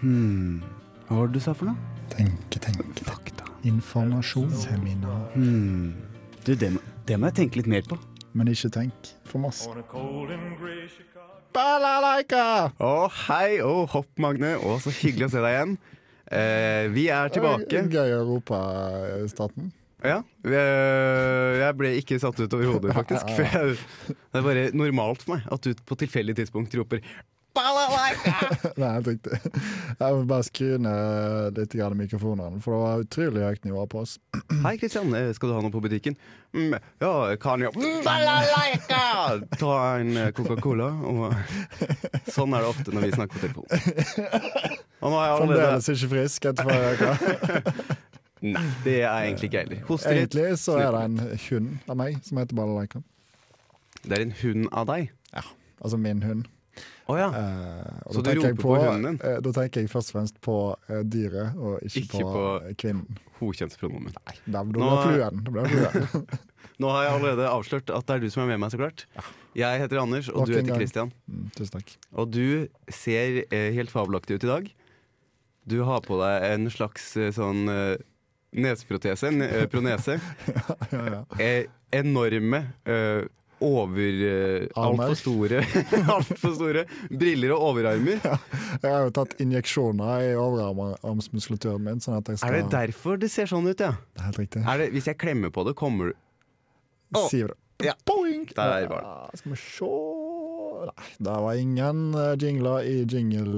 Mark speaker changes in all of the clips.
Speaker 1: Hmm. Hva var det du sa for noe?
Speaker 2: Tenke, tenke. Mm.
Speaker 1: Fakta.
Speaker 2: Informasjon. Seminar.
Speaker 1: Hmm. Du, det må, det må jeg tenke litt mer på.
Speaker 2: Men ikke tenk for masse.
Speaker 3: On a cold and gray Chicago.
Speaker 4: Balalaika! Å, hei og hopp, Magne. Å, så hyggelig å se deg igjen. Eh, vi er tilbake.
Speaker 2: Gøy europastaten.
Speaker 4: Ja. vi er- Jeg ble ikke satt ut over hodet, faktisk. For jeg, det er bare normalt for meg at du på tilfeldig tidspunkt roper Balalaika!
Speaker 2: Nei, helt riktig. Jeg må bare skru ned litt grann mikrofonene, for det var utrolig høyt nivå på oss.
Speaker 4: Hei, Kristian. eh, Skal du ha noe på butikken? Mm, ja, kan jeg Mm, Balalaika! Ta en eh, Coca-Cola og Sånn er det ofte når vi snakker på telefon. Og nå har jeg allerede
Speaker 2: Fremdeles ikke frisk etter forrige uke.
Speaker 4: Nei, det Sånn er egentlig ikke jeg heller. Hoster litt.
Speaker 2: Egentlig så er det en hund av meg som heter Balalaika.
Speaker 4: Det er en hund av deg.
Speaker 2: Ja, altså min hund.
Speaker 4: Å ja.
Speaker 2: Eh, og
Speaker 4: Så
Speaker 2: da
Speaker 4: du
Speaker 2: tenker jeg
Speaker 4: roper på hunden din?
Speaker 2: eh, da tenker jeg først og fremst på eh, dyret, og ikke,
Speaker 4: Ikke
Speaker 2: på,
Speaker 4: på-
Speaker 2: eh, kvinnen.
Speaker 4: Hokjønnspronomen.
Speaker 2: Nei, da da
Speaker 4: Nå- eh,
Speaker 2: ble fluen. Da ble fluen.
Speaker 4: Nå har jeg allerede avslørt at det er du som er med meg, så klart. Jeg heter Anders, og
Speaker 2: Nok
Speaker 4: du
Speaker 2: en
Speaker 4: heter
Speaker 2: gang.
Speaker 4: Christian.
Speaker 2: Mm, tusen takk.
Speaker 4: Og du ser eh, helt fabelaktig ut i dag. Du har på deg en slags eh, sånn eh, neseprotese, en eh, pronese.
Speaker 2: Ja, ja.
Speaker 4: Eh, enorme eh, over... Eh,
Speaker 2: Armer.
Speaker 4: Altfor store, alt for store briller og overarmer.
Speaker 2: Jeg har jo tatt injeksjoner i overarmsmuskulaturen min. Sånn at jeg skal...
Speaker 4: Er det derfor det ser sånn ut, ja?
Speaker 2: Det er helt riktig.
Speaker 4: Er det, hvis jeg klemmer på det, kommer du Å,
Speaker 2: Sier det.
Speaker 4: ja.
Speaker 2: Boing!
Speaker 4: Der var den.
Speaker 2: Ja, Skal vi se Nei, det var ingen eh, jingler i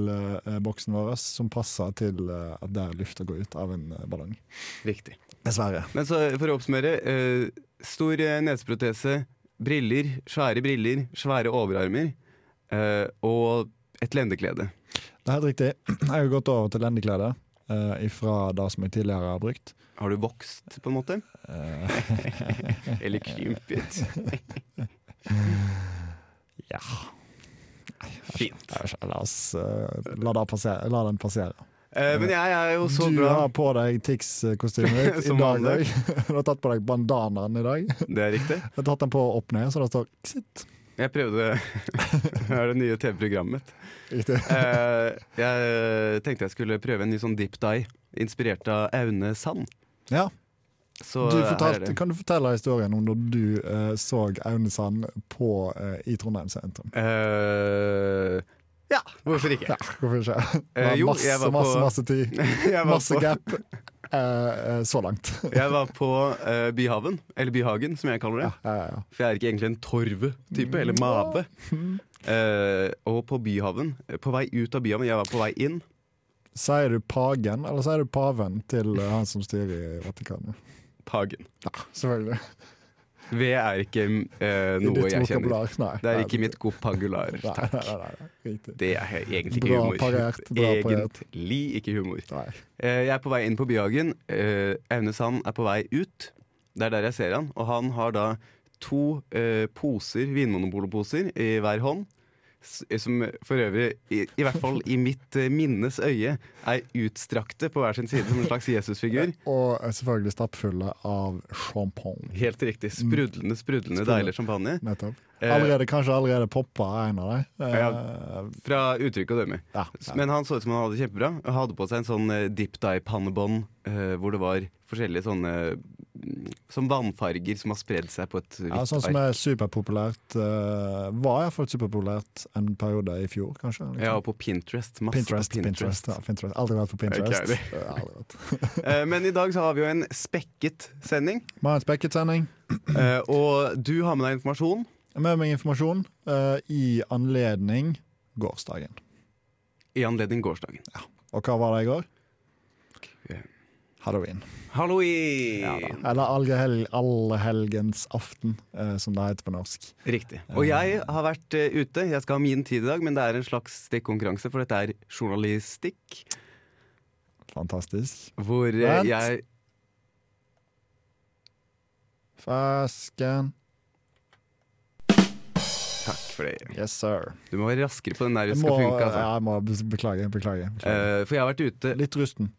Speaker 2: jingleboksen vår som passa til eh, at der lufta går ut av en eh, ballong.
Speaker 4: Riktig.
Speaker 2: Dessverre.
Speaker 4: Men så for å oppsummere. eh, stor eh, neseprotese, briller, svære briller, svære overarmer eh, og et lendeklede.
Speaker 2: Det er helt riktig. Jeg har gått over til lendeklede eh, fra det som jeg tidligere har brukt.
Speaker 4: Har du vokst, på en måte?
Speaker 2: Eh,
Speaker 4: Eller krympet?
Speaker 2: ja.
Speaker 4: Fint.
Speaker 2: Æsj, La, oss, eh, la, det passere, la den passere.
Speaker 4: Eh, men jeg er jo så
Speaker 2: du
Speaker 4: glad
Speaker 2: har på deg Tix-kostymet ditt i
Speaker 4: Som
Speaker 2: dag
Speaker 4: vanlig.
Speaker 2: òg. Du har tatt på deg bandanaen i dag.
Speaker 4: Det er riktig.
Speaker 2: Du har tatt den på opp ned, så det står Xit.
Speaker 4: Jeg prøvde Det er det nye TV-programmet.
Speaker 2: Riktig.
Speaker 4: Eh, jeg tenkte jeg skulle prøve en ny sånn dip dye, inspirert av Aune Sand.
Speaker 2: Ja,
Speaker 4: Så eh,
Speaker 2: du
Speaker 4: her er
Speaker 2: fortalte,
Speaker 4: det.
Speaker 2: kan du fortelle historien om da du eh, så Aune Sand på, eh, i Trondheim sentrum?
Speaker 4: Eh, ja, hvorfor ikke?
Speaker 2: Ja, hvorfor ikke? Det
Speaker 4: Eh,
Speaker 2: var
Speaker 4: jo,
Speaker 2: masse,
Speaker 4: jeg var på-
Speaker 2: masse, masse tid.
Speaker 4: Jeg var
Speaker 2: Masse
Speaker 4: på-
Speaker 2: gap. Eh, eh, så langt.
Speaker 4: Jeg var på eh, Byhaven, eller Byhagen som jeg kaller det.
Speaker 2: Ja, ja, ja.
Speaker 4: For jeg er ikke egentlig en torve-type, eller mave. Eh, og på Byhaven, eh, på vei ut av Byhaven, jeg var på vei inn.
Speaker 2: Sier du pagen, eller sier du paven til eh, han som styrer i Vatikanet?
Speaker 4: Pagen.
Speaker 2: Ja, selvfølgelig.
Speaker 4: Ved er ikke eh,
Speaker 2: I
Speaker 4: noe
Speaker 2: ditt
Speaker 4: jeg kjenner.
Speaker 2: vokabular, Nei,
Speaker 4: Det er
Speaker 2: nei,
Speaker 4: ikke mitt gopagular.
Speaker 2: Nei, nei, nei, nei, nei, riktig.
Speaker 4: Det er egentlig ikke
Speaker 2: Bra
Speaker 4: humor.
Speaker 2: parert, bra parert.
Speaker 4: Egentlig ikke humor.
Speaker 2: Nei.
Speaker 4: Eh, jeg er på vei inn på Byhagen. Eh, Aune Sand er på vei ut. Det er der jeg ser han. Og han har da to eh, poser, Vinmonopolet-poser, i hver hånd. s- eh, Som for øvrig, i, i hvert fall i mitt eh, minnes øye, er utstrakte på hver sin side som en slags Jesusfigur.
Speaker 2: Og eh, selvfølgelig stappfulle av champagne.
Speaker 4: Helt riktig. Sprudlende, sprudlende deilig champagne.
Speaker 2: Nettopp.
Speaker 4: Eh,
Speaker 2: Allerede, kanskje allerede poppa en av dem. Eh,
Speaker 4: Ja. Fra uttrykk å dømme.
Speaker 2: ja,
Speaker 4: S-
Speaker 2: ja.
Speaker 4: Men han så ut som han hadde det kjempebra. Han hadde på seg en sånn eh, dip dye-pannebånd eh, hvor det var forskjellige sånne mm, Som vannfarger som har spredd seg på et hvitt
Speaker 2: Ja, sånn som
Speaker 4: ark.
Speaker 2: er superpopulært uh, Var iallfall superpopulært en periode i fjor, kanskje. liksom.
Speaker 4: Ja, og på Pinterest. Masse
Speaker 2: Pinterest,
Speaker 4: på
Speaker 2: Pinterest.
Speaker 4: Pinterest.
Speaker 2: ja, Pinterest. Aldri vært på Pinterest.
Speaker 4: Ok,
Speaker 2: Eh, aldri vært.
Speaker 4: Eh, Men i dag så har vi jo en spekket sending,
Speaker 2: Vi har en spekket sending
Speaker 4: eh, og du har med deg informasjon.
Speaker 2: med meg informasjon eh, i anledning gårsdagen.
Speaker 4: I anledning gårsdagen.
Speaker 2: Og hva var det i går? Halloween.
Speaker 4: Halloween!
Speaker 2: Eller allhel allehelgens aften, eh, som det heter på norsk.
Speaker 4: Riktig. Og jeg har vært eh, ute. Jeg skal ha min tid i dag, men det er en slags stikkonkurranse, for dette er journalistikk.
Speaker 2: Fantastisk.
Speaker 4: Hvor eh,
Speaker 2: Vent.
Speaker 4: jeg
Speaker 2: Fasken.
Speaker 4: Takk for det.
Speaker 2: Yes, sir.
Speaker 4: Du må være raskere på den der
Speaker 2: Jeg
Speaker 4: hvis det
Speaker 2: må,
Speaker 4: skal funke. Altså.
Speaker 2: ja, jeg må be- beklage. beklage, beklage.
Speaker 4: Eh, for jeg har vært ute,
Speaker 2: Litt rusten.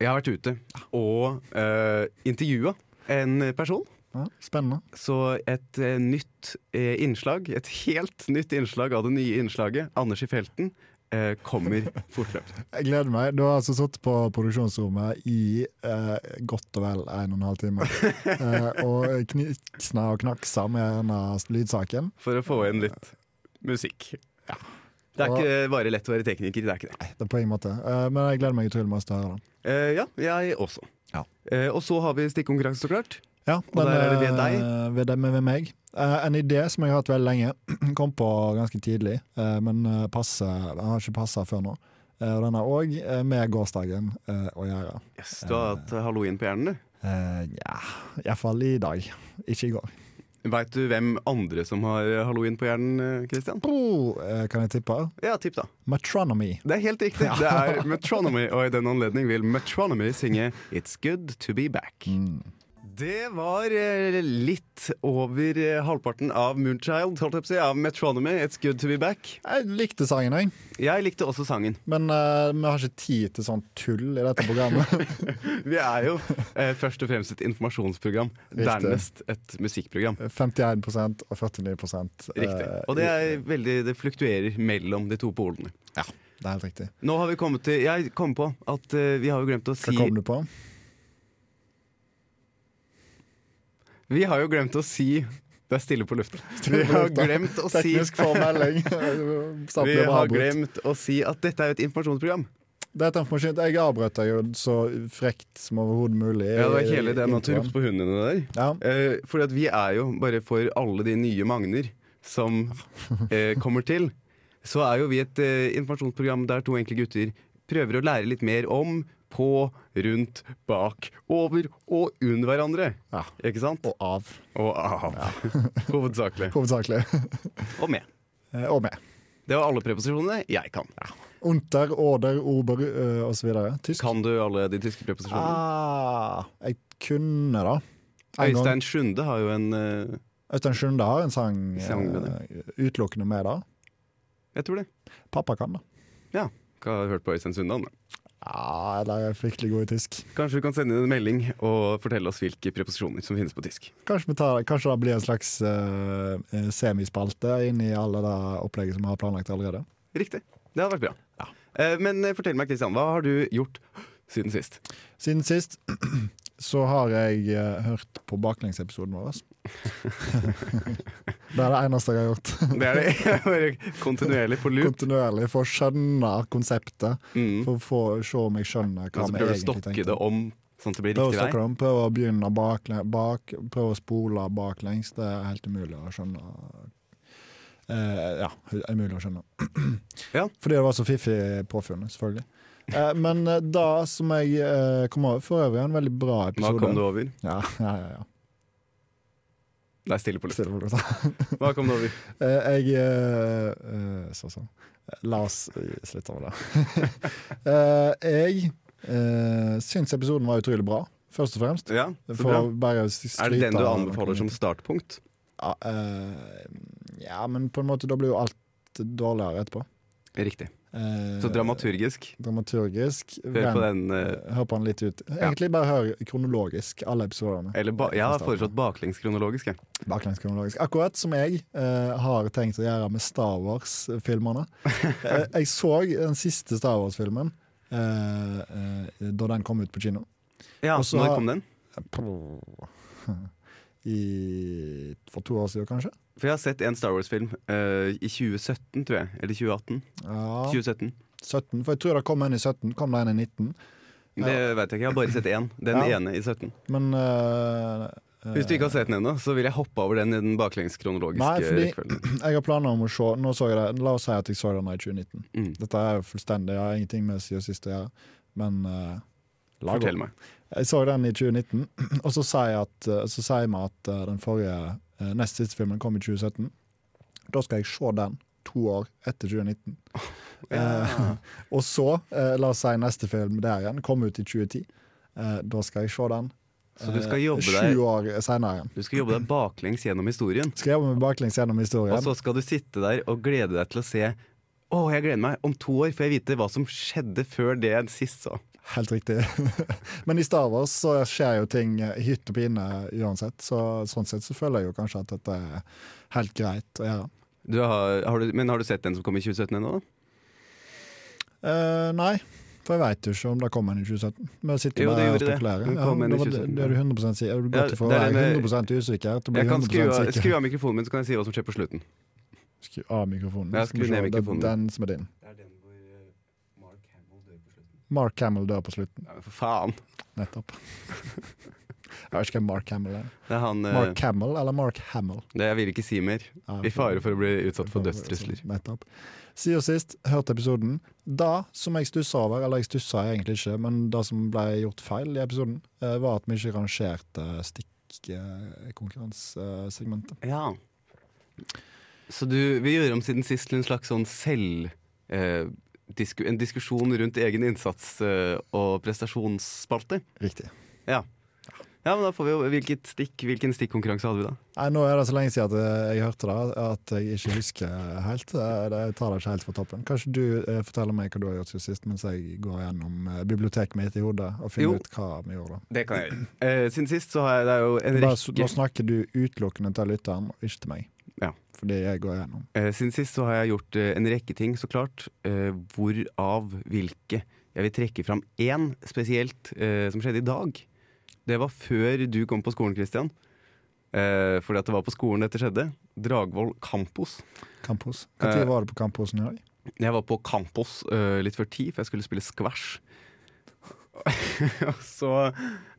Speaker 4: jeg har vært ute og uh, intervjua en person.
Speaker 2: Ja, spennende.
Speaker 4: Så et eh, nytt eh, innslag, et helt nytt innslag av det nye innslaget, Anders i felten, eh, kommer fortløpende.
Speaker 2: Jeg gleder meg. Du har altså sittet på produksjonsrommet i eh, godt og vel en og en halv time. Eh, og knisna og knaksa med denne lydsaken.
Speaker 4: For å få inn litt musikk. Det er ikke bare lett å være tekniker. det er ikke det.
Speaker 2: Nei, det er på ingen måte. Eh, men jeg gleder meg utrolig masse til å høre den.
Speaker 4: Eh, ja, jeg også.
Speaker 2: Ja.
Speaker 4: Eh, og så har vi stikkonkurranse, så klart.
Speaker 2: Ja,
Speaker 4: Og der er det ved
Speaker 2: eh, Ved, deg, men ved meg. Eh, en idé som jeg har hatt veldig lenge, kom på ganske tidlig, eh, men eh, passe, den har ikke passa før nå. Eh, og den har òg eh, med gårsdagen eh, å gjøre.
Speaker 4: Yes, du har hatt halloween på hjernen, du.
Speaker 2: Eh, ja, iallfall i dag, ikke i går.
Speaker 4: Veit du hvem andre som har halloween på hjernen, eh, Christian?
Speaker 2: Oh, eh, kan jeg tippe?
Speaker 4: Ja, tipp, da.
Speaker 2: Matronomy.
Speaker 4: Det er helt riktig. Det er Metronomy, og i den anledning vil Metronomy synge It's Good To Be Back. Det var eh, litt over eh, halvparten av Moonchild, holdt jeg på å si, av Metronomy, It's Good To Be Back.
Speaker 2: Jeg likte sangen, jeg.
Speaker 4: Jeg likte også sangen.
Speaker 2: Men eh, vi har ikke tid til sånn tull i dette programmet.
Speaker 4: Vi er jo eh, først og fremst et informasjonsprogram,
Speaker 2: Riktig.
Speaker 4: dernest et musikkprogram.
Speaker 2: 51 og 49 eh,
Speaker 4: Riktig. Og det, er veldig, det fluktuerer mellom de to polene.
Speaker 2: Ja, det er helt riktig.
Speaker 4: Nå har vi kommet til Jeg kom på at eh, vi har jo glemt å
Speaker 2: Hva
Speaker 4: si
Speaker 2: kom du på?
Speaker 4: Vi har jo glemt å si Det er stille på lufta. Vi har glemt å si
Speaker 2: Teknisk formelding.
Speaker 4: Vi har glemt å si at dette er jo et informasjonsprogram.
Speaker 2: Dette er informasjon. Jeg avbrøt deg jo så frekt som overhodet mulig. i-
Speaker 4: Ja, det var kjedelig det
Speaker 2: i
Speaker 4: med at du
Speaker 2: introen.
Speaker 4: ropte på hundene der.
Speaker 2: Ja.
Speaker 4: Eh, fordi at vi er jo, bare for alle de nye Magner som eh, kommer til, så er jo vi et eh, informasjonsprogram der to enkle gutter prøver å lære litt mer om, på, rundt, bak, over og under hverandre.
Speaker 2: ja.
Speaker 4: Ikke sant?
Speaker 2: Og av,
Speaker 4: Og av. Hovedsakelig.
Speaker 2: hovedsakelig.
Speaker 4: Og med.
Speaker 2: Eh, Og med.
Speaker 4: Det var alle preposisjonene jeg kan.
Speaker 2: Unter, oder, ober eh, og så videre. Tysk.
Speaker 4: Kan du alle de tyske preposisjonene?
Speaker 2: Ah, jeg kunne, da. En gang.
Speaker 4: Øystein Sjunde har jo en eh,
Speaker 2: Øystein Sjunde har en sang eh,
Speaker 4: Sang med
Speaker 2: utelukkende med det.
Speaker 4: Jeg tror det.
Speaker 2: Pappa kan det.
Speaker 4: Ja. Hva har du hørt på Øystein Sundan?
Speaker 2: Ja, Ah, eller jeg er fryktelig god i tysk.
Speaker 4: Kanskje du kan sende inn en melding og fortelle oss hvilke preposisjoner som finnes på tysk.
Speaker 2: Kanskje, vi tar, kanskje det blir en slags eh, eh, semispalte inn i alle det opplegget som vi har planlagt allerede.
Speaker 4: Riktig. Det hadde vært bra. Eh, Men eh, fortell meg, Kristian, hva har du gjort siden sist?
Speaker 2: Siden sist så har jeg eh, hørt på baklengsepisoden vår. altså. det er det eneste jeg har gjort.
Speaker 4: Det er det jeg bare kontinuerlig på loop.
Speaker 2: Kontinuerlig for å skjønne konseptet.
Speaker 4: Mm.
Speaker 2: For å få, se om jeg skjønner hva
Speaker 4: Og så
Speaker 2: vi
Speaker 4: prøver du å
Speaker 2: egentlig
Speaker 4: stokke det
Speaker 2: tenkte.
Speaker 4: om sånn at det blir
Speaker 2: Prøve å,
Speaker 4: riktig
Speaker 2: stokke
Speaker 4: vei.
Speaker 2: dem, prøve å begynne bakle- bak, prøve å spole baklengs. Det er helt umulig å skjønne. Eh, ja, umulig å skjønne.
Speaker 4: Ja.
Speaker 2: Fordi det var så fiffig påfunnet, selvfølgelig. Eh, men eh, da som jeg eh, kom over For øvrig en veldig bra
Speaker 4: Hva
Speaker 2: episode.
Speaker 4: kom du over?
Speaker 2: Ja, ja, ja, ja.
Speaker 4: Det er stille på loop.
Speaker 2: Stille og rolig.
Speaker 4: Hva kom du over?
Speaker 2: Eh, Jeg eh, eh, Så sånn. La oss eh, slutte med det. Eh, jeg eh, syns episoden var utrolig bra, først og fremst.
Speaker 4: Ja, så
Speaker 2: For
Speaker 4: bra.
Speaker 2: å bare skryte
Speaker 4: Er det den du
Speaker 2: av
Speaker 4: anbefaler som startpunkt?
Speaker 2: ja, eh, ja, men på en måte da blir jo alt dårligere etterpå.
Speaker 4: Riktig.
Speaker 2: Eh,
Speaker 4: Så dramaturgisk.
Speaker 2: Dramaturgisk.
Speaker 4: Hør på
Speaker 2: vent,
Speaker 4: den. eh,
Speaker 2: eh, Hør på den litt ut. Egentlig bare hør kronologisk, alle episodene.
Speaker 4: Eller ba jeg har foreslått baklengskronologisk. jeg.
Speaker 2: Baklengskronologisk. Akkurat som jeg eh, har tenkt å gjøre med Star Wars-filmerne. Eh, jeg så den siste Star Wars-filmen eh, eh, da den kom ut på kino.
Speaker 4: Ja,
Speaker 2: Og så
Speaker 4: Når
Speaker 2: har-
Speaker 4: kom den?
Speaker 2: I, for to år siden, kanskje?
Speaker 4: For jeg har sett en Star Wars-film eh, i 2017, tror jeg. Eller 2018.
Speaker 2: Ja,
Speaker 4: 2017.
Speaker 2: 17. For jeg tror det kom en i 17, kom det en i 19. Ja.
Speaker 4: Det vet jeg ikke. Jeg har bare sett én. Den
Speaker 2: Ja.
Speaker 4: ene i 17.
Speaker 2: Men eh, eh,
Speaker 4: Hvis du ikke har sett den ennå, så vil jeg hoppe over den i den baklengskronologiske
Speaker 2: Nei, fordi-
Speaker 4: rekkefølgen.
Speaker 2: jeg har planer om å se Nå så jeg det, La oss si at jeg så den i 2019.
Speaker 4: Mm.
Speaker 2: Dette er jo fullstendig, jeg har ingenting med siden sist å gjøre, men eh, lag opp.
Speaker 4: Fortell meg.
Speaker 2: Jeg så den i 2019, og så sier jeg at- så sier vi at eh, den forrige, eh, nest siste filmen kom i 2017. Da skal jeg se den to år etter 2019. Eh, og så, eh, la oss si neste film der igjen, kom ut i 2010. Eh, da skal jeg se den
Speaker 4: Så du
Speaker 2: eh,
Speaker 4: skal jobbe
Speaker 2: sju
Speaker 4: deg,
Speaker 2: år senere igjen.
Speaker 4: du skal jobbe deg baklengs gjennom historien,
Speaker 2: Skal jobbe meg baklengs gjennom historien.
Speaker 4: og så skal du sitte der og glede deg til å se å, jeg gleder meg. Om to år får jeg vite hva som skjedde før det jeg sist så.
Speaker 2: Helt riktig. Men i Star Wars så skjer jo ting i hytt og pine uansett, så sånn sett så føler jeg jo kanskje at dette er helt greit å gjøre.
Speaker 4: Du har, har du, men har du sett den som kom i 2017 ennå, da?
Speaker 2: Eh, nei, for jeg veit jo ikke om det kom en i 2017. Vi sitter
Speaker 4: Jo,
Speaker 2: bare
Speaker 4: det
Speaker 2: her og
Speaker 4: gjorde det.
Speaker 2: spekulerer.
Speaker 4: Den
Speaker 2: Ja,
Speaker 4: kom en i
Speaker 2: det, var det-
Speaker 4: 2017,
Speaker 2: det er du 100 sikker. Er
Speaker 4: Ja,
Speaker 2: du gått fra å
Speaker 4: det er
Speaker 2: være
Speaker 4: det med-
Speaker 2: 100 usikker til å bli
Speaker 4: Jeg kan skru
Speaker 2: 100
Speaker 4: av,
Speaker 2: sikker?
Speaker 4: skru av mikrofonen min, så kan jeg si hva som skjer på slutten.
Speaker 2: Skru av mikrofonen.
Speaker 4: Ja,
Speaker 2: Skal
Speaker 4: skru
Speaker 2: vi
Speaker 4: ned
Speaker 2: se, det er
Speaker 4: mikrofonen.
Speaker 2: Den som er din.
Speaker 4: Det er den hvor eh, Mark Hamill dør på slutten.
Speaker 2: Mark Hamill dør på slutten.
Speaker 4: Nei, men for faen!
Speaker 2: Nettopp. Jeg vet ikke hvem Mark Hamill er.
Speaker 4: Det er han eh,
Speaker 2: Mark Hamill eller Mark Hamill?
Speaker 4: Det jeg vil ikke si mer.
Speaker 2: Ja,
Speaker 4: I fare for å bli utsatt for dødstrusler.
Speaker 2: Nettopp. Siden sist, hørte episoden. Da, som jeg stussa over, eller jeg stussa egentlig ikke, men det som ble gjort feil i episoden, eh, var at vi ikke rangerte stikkkonkurransesegmentet.
Speaker 4: Ja. Så du vil gjøre om siden sist til en slags sånn selv... Eh, disku, en diskusjon rundt egen innsats eh, og prestasjonsspalte?
Speaker 2: Riktig.
Speaker 4: Ja. Ja, men da får vi jo hvilket stikk, Hvilken stikkonkurranse hadde vi da?
Speaker 2: Nei, nå er det så lenge siden at eh, jeg hørte det, at jeg ikke husker helt. Eh, det- Jeg tar det ikke helt fra toppen. Kanskje du eh, forteller meg hva du har gjort siden sist, mens jeg går gjennom eh, biblioteket mitt i hodet og
Speaker 4: Jo.
Speaker 2: finner ut hva vi gjorde.
Speaker 4: Det kan jeg gjøre. Eh, siden sist så har jeg det er jo en
Speaker 2: Bare, s- nå
Speaker 4: rekke
Speaker 2: snakker du utelukkende til lytteren, og ikke til meg.
Speaker 4: Ja.
Speaker 2: Fordi jeg går gjennom.
Speaker 4: Eh, Siden sist så har jeg gjort eh, en rekke ting, så klart. Eh, Hvorav hvilke. Jeg vil trekke fram én spesielt eh, som skjedde i dag. Det var før du kom på skolen, Christian. Eh, fordi at det var på skolen dette skjedde. Dragvoll Campos.
Speaker 2: Campus. Hva tid
Speaker 4: Eh,
Speaker 2: var det på campusen i dag?
Speaker 4: Jeg var på Campos eh, litt før ti, for jeg skulle spille squash. Og så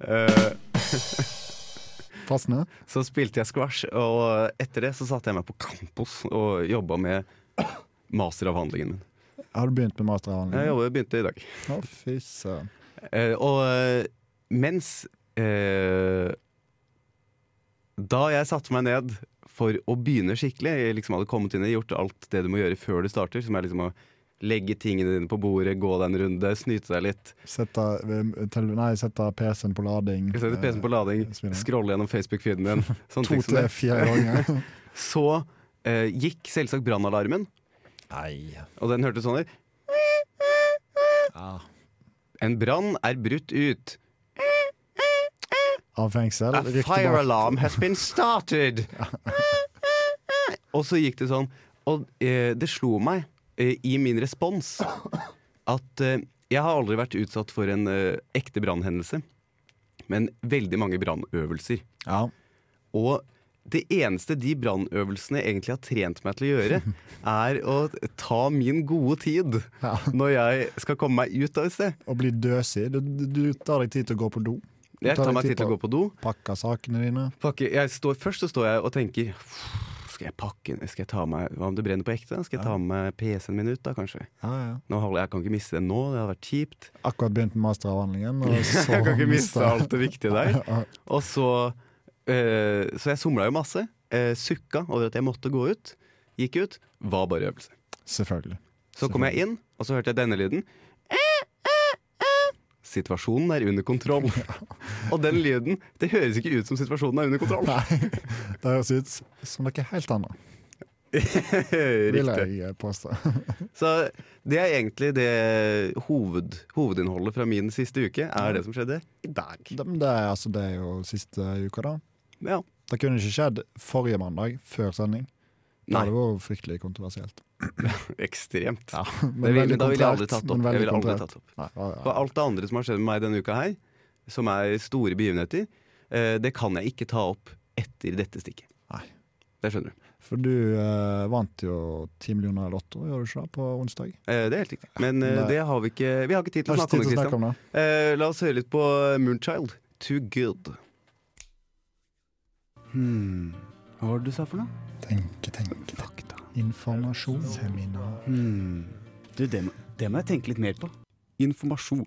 Speaker 4: eh,
Speaker 2: Passende?
Speaker 4: Så spilte jeg squash, og etter det så satte jeg meg på Campus og jobba med masteravhandlingen min.
Speaker 2: Har du begynt med
Speaker 4: Jeg
Speaker 2: masteravhandling?
Speaker 4: jobbet, begynte i dag.
Speaker 2: Å, fy søren.
Speaker 4: Eh, og eh, mens eh, Da jeg satte meg ned for å begynne skikkelig, jeg liksom hadde kommet inn og gjort alt det du må gjøre før du starter, som er liksom å legge tingene dine på bordet, gå deg en runde, snyte deg litt,
Speaker 2: Sette, eh, tele- nei, sette PC-en på lading.
Speaker 4: sette PC-en på lading,
Speaker 2: spiller.
Speaker 4: scrolle gjennom Facebook-feeden din, sånne
Speaker 2: Eh, To
Speaker 4: ting som
Speaker 2: til
Speaker 4: det.
Speaker 2: fire ganger.
Speaker 4: Så eh, gikk selvsagt brannalarmen,
Speaker 2: nei.
Speaker 4: og den hørtes sånn ut.
Speaker 2: Ja.
Speaker 4: En brann er brutt ut.
Speaker 2: Av fengsel.
Speaker 4: A
Speaker 2: rykte
Speaker 4: fire
Speaker 2: bak.
Speaker 4: alarm has been started! og så gikk det sånn. Og eh, det slo meg eh, i min respons at eh, jeg har aldri vært utsatt for en eh, ekte brannhendelse, men veldig mange brannøvelser.
Speaker 2: Ja.
Speaker 4: Og det eneste de brannøvelsene egentlig har trent meg til å gjøre, er å ta min gode tid
Speaker 2: Ja.
Speaker 4: når jeg skal komme meg ut av et sted.
Speaker 2: Å bli døsig. Du, du du tar deg tid til å gå på do. Du
Speaker 4: Jeg tar
Speaker 2: deg
Speaker 4: meg tid til å gå på do.
Speaker 2: Pakke sakene dine.
Speaker 4: pakke jeg står, Først så står jeg og tenker Skal jeg pakke Skal jeg ta med Hva om det brenner på ekte? Skal jeg ta med PC-en min ut da, kanskje?
Speaker 2: Ja, ja.
Speaker 4: Nå holder, jeg kan ikke miste den nå, det hadde vært kjipt.
Speaker 2: Akkurat begynt med masteravhandlingen. Og så
Speaker 4: Jeg kan ikke miste alt det viktige der.
Speaker 2: Ja.
Speaker 4: Og så eh, Så jeg somla jo masse. eh, sukka over at jeg måtte gå ut. Gikk ut. Var bare øvelse.
Speaker 2: Selvfølgelig.
Speaker 4: Så kom jeg inn, og så hørte jeg denne lyden. Eh, Situasjonen er under kontroll. Og den lyden Det høres ikke ut som situasjonen er under kontroll.
Speaker 2: Nei, det høres ut som noe helt annet, vil
Speaker 4: Riktig.
Speaker 2: jeg eh, påstå.
Speaker 4: Så det er egentlig det hoved, hovedinnholdet fra min siste uke, er det som skjedde i dag.
Speaker 2: Det, men det, er, altså, det er jo siste uka, da.
Speaker 4: Ja.
Speaker 2: Det kunne ikke skjedd forrige mandag, før sending.
Speaker 4: Nei,
Speaker 2: Det hadde vært fryktelig kontroversielt.
Speaker 4: ekstremt.
Speaker 2: Men
Speaker 4: Det ville,
Speaker 2: veldig
Speaker 4: da ville jeg aldri
Speaker 2: kontrært,
Speaker 4: tatt
Speaker 2: men
Speaker 4: opp.
Speaker 2: veldig
Speaker 4: Jeg ville aldri
Speaker 2: kontrært.
Speaker 4: tatt opp.
Speaker 2: Nei, ja,
Speaker 4: Og
Speaker 2: ja.
Speaker 4: alt det andre som har skjedd med meg denne uka her, som er store begivenheter, eh, det kan jeg ikke ta opp etter dette stikket.
Speaker 2: Nei.
Speaker 4: Det skjønner du.
Speaker 2: For du eh, vant jo 10 millioner i Lotto, gjorde du ikke det, på onsdag?
Speaker 4: Eh, Det er helt riktig. Men eh,
Speaker 2: Nei.
Speaker 4: det har vi ikke Vi har ikke tid til å
Speaker 2: Har
Speaker 4: snakke
Speaker 2: ikke
Speaker 4: om
Speaker 2: tid
Speaker 4: det,
Speaker 2: til å snakke
Speaker 4: Christian.
Speaker 2: om det.
Speaker 4: Eh, La oss høre litt på Moonchild. Too good.
Speaker 1: Hmm. Hva var det du sa for noe?
Speaker 2: Tenke, tenke,
Speaker 1: Fakta.
Speaker 2: Informasjon. Seminar.
Speaker 1: Hmm. Du, det, må- det må jeg tenke litt mer på.
Speaker 5: Informasjon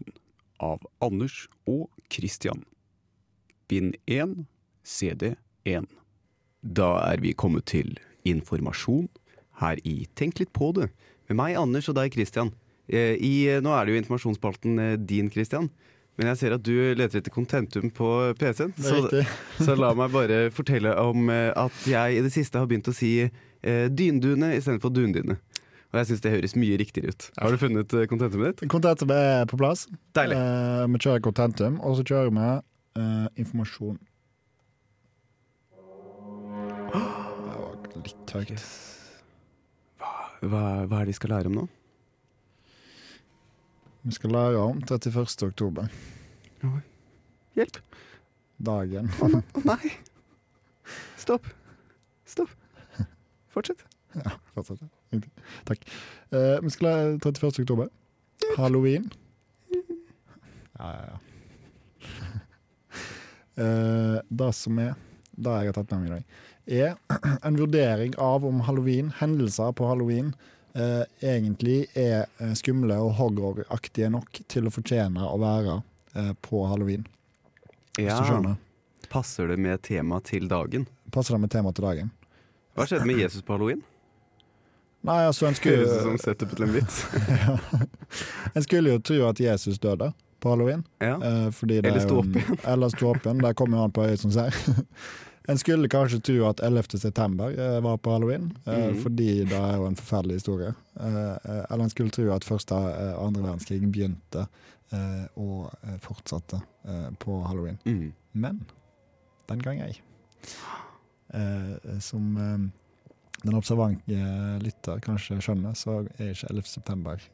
Speaker 5: av Anders og Christian. Bind 1, CD 1.
Speaker 4: Da er vi kommet til informasjon her i Tenk litt på det. Med meg, Anders, og deg, Christian. Eh, I, nå er det jo informasjonsspalten eh, din, Christian. Men jeg ser at du leter etter kontentum på PC-en.
Speaker 2: Det er
Speaker 4: Så,
Speaker 2: riktig.
Speaker 4: så la meg bare fortelle om eh, at jeg i det siste har begynt å si eh, dyndune istedenfor dundine. Og jeg syns det høres mye riktigere ut. Har du funnet eh, kontentumet ditt?
Speaker 2: Kontentum er på plass.
Speaker 4: Deilig.
Speaker 2: Eh, vi kjører kontentum, og så kjører vi eh, informasjon. Det var litt høyt.
Speaker 4: Hva, hva er det vi skal lære om nå?
Speaker 2: Vi skal lære om 31. oktober.
Speaker 4: Hjelp!
Speaker 2: Dagen.
Speaker 4: Å nei! Stopp. Stopp. Fortsett.
Speaker 2: Fortsett. Ingenting. Takk. Eh, vi skal lære 31. oktober. Halloween. Ja, ja, ja. Eh, det som er Det jeg har tatt med meg i dag, er en vurdering av om halloween, hendelser på halloween eh, egentlig er eh, skumle og horroraktige nok til å fortjene å være eh, på halloween. Hvis du skjønner.
Speaker 4: Passer det med temaet til dagen?
Speaker 2: Passer det med temaet til dagen?
Speaker 4: Hva skjedde med Jesus på halloween?
Speaker 2: Nei, altså en
Speaker 4: Høres
Speaker 2: skulle,
Speaker 4: ut som setup til en vits.
Speaker 2: en skulle jo tro at Jesus døde på halloween.
Speaker 4: Ja.
Speaker 2: Eh, fordi det
Speaker 4: Eller
Speaker 2: er
Speaker 4: stå
Speaker 2: jo
Speaker 4: opp
Speaker 2: en- Eller stå opp igjen. Det kommer jo an på øyet som ser. En skulle kanskje tro at 11. september eh, var på halloween, eh,
Speaker 4: Mhm.
Speaker 2: fordi det er jo en forferdelig historie. Eh, eh, eller en skulle tro at første eh, andre verdenskrig begynte eh, og eh, fortsatte eh, på halloween.
Speaker 4: Mm.
Speaker 2: Men den gang ei. Eh, som eh, den observante lytter kanskje skjønner, så er ikke 11. september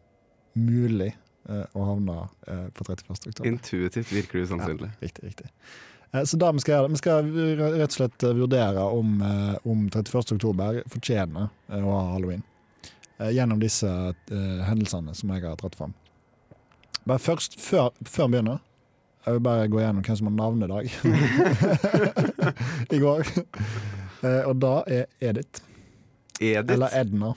Speaker 2: mulig eh, å havne eh, på 31. oktober.
Speaker 4: Intuitivt virker det sånn, usannsynlig.
Speaker 2: Riktig, riktig. Eh, Så da vi skal gjøre det, vi skal r- rett og slett eh, vurdere om, eh, om 31. oktober fortjener eh, å ha halloween. Eh, Gjennom disse eh, hendelsene som jeg har dratt fram. Bare først, før, før vi begynner, jeg vil bare gå gjennom hvem som har navnedag i går. Eh, Og da er Edith. Eller
Speaker 4: Edith.
Speaker 2: Edna.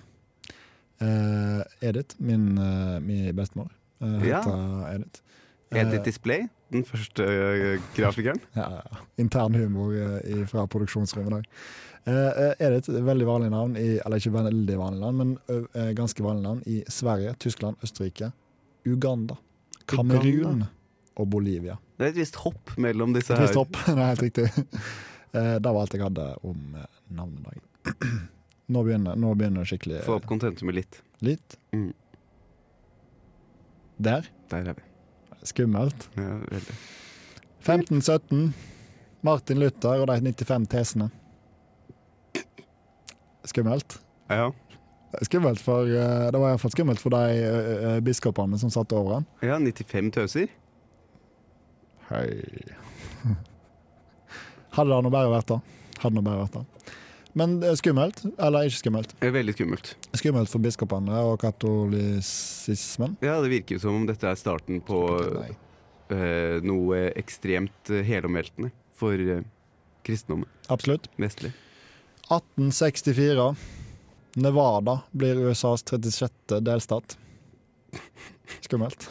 Speaker 2: Eh, Edith, min, eh, min bestemor, eh,
Speaker 4: Ja.
Speaker 2: heter Edith. Eh,
Speaker 4: Edith Display, den første ø, grafikeren.
Speaker 2: Ja, ja. intern humor eh, i- fra produksjonsrommet i dag. Eh, eh, Edith, veldig vanlig navn i, Eller ikke veldig vanlig navn, men ø, eh, ganske vanlig navn i Sverige, Tyskland, Østerrike, Uganda, Kamerun
Speaker 4: Uganda.
Speaker 2: og Bolivia.
Speaker 4: Det er et visst hopp mellom disse her.
Speaker 2: Trist hopp. Det er helt riktig. Eh, Det var alt jeg hadde om eh, navnedagen. Nå begynner, nå begynner det skikkelig
Speaker 4: Få opp kontentumet litt.
Speaker 2: litt.
Speaker 4: Mm.
Speaker 2: Der.
Speaker 4: Der er vi.
Speaker 2: Skummelt.
Speaker 4: Ja, veldig.
Speaker 2: 1517. Martin Luther og de 95 tesene. Skummelt.
Speaker 4: Ja.
Speaker 2: Skummelt for, eh, det var iallfall skummelt for de eh, eh, biskopene som satt over han.
Speaker 4: ja, 95 tøser.
Speaker 2: Hei. Hadde det nå bare vært det. Hadde det nå bare vært det. Men eh, skummelt, eller ikke skummelt?
Speaker 4: Det er Veldig skummelt.
Speaker 2: Skummelt for biskopene og katolisismen.
Speaker 4: Ja, Det virker som om dette er starten på
Speaker 2: Nei.
Speaker 4: ø, noe ekstremt ø, helomveltende for ø, kristendommen.
Speaker 2: Absolutt.
Speaker 4: Vestlig.
Speaker 2: 1864. Nevada blir USAs 36. delstat. Skummelt.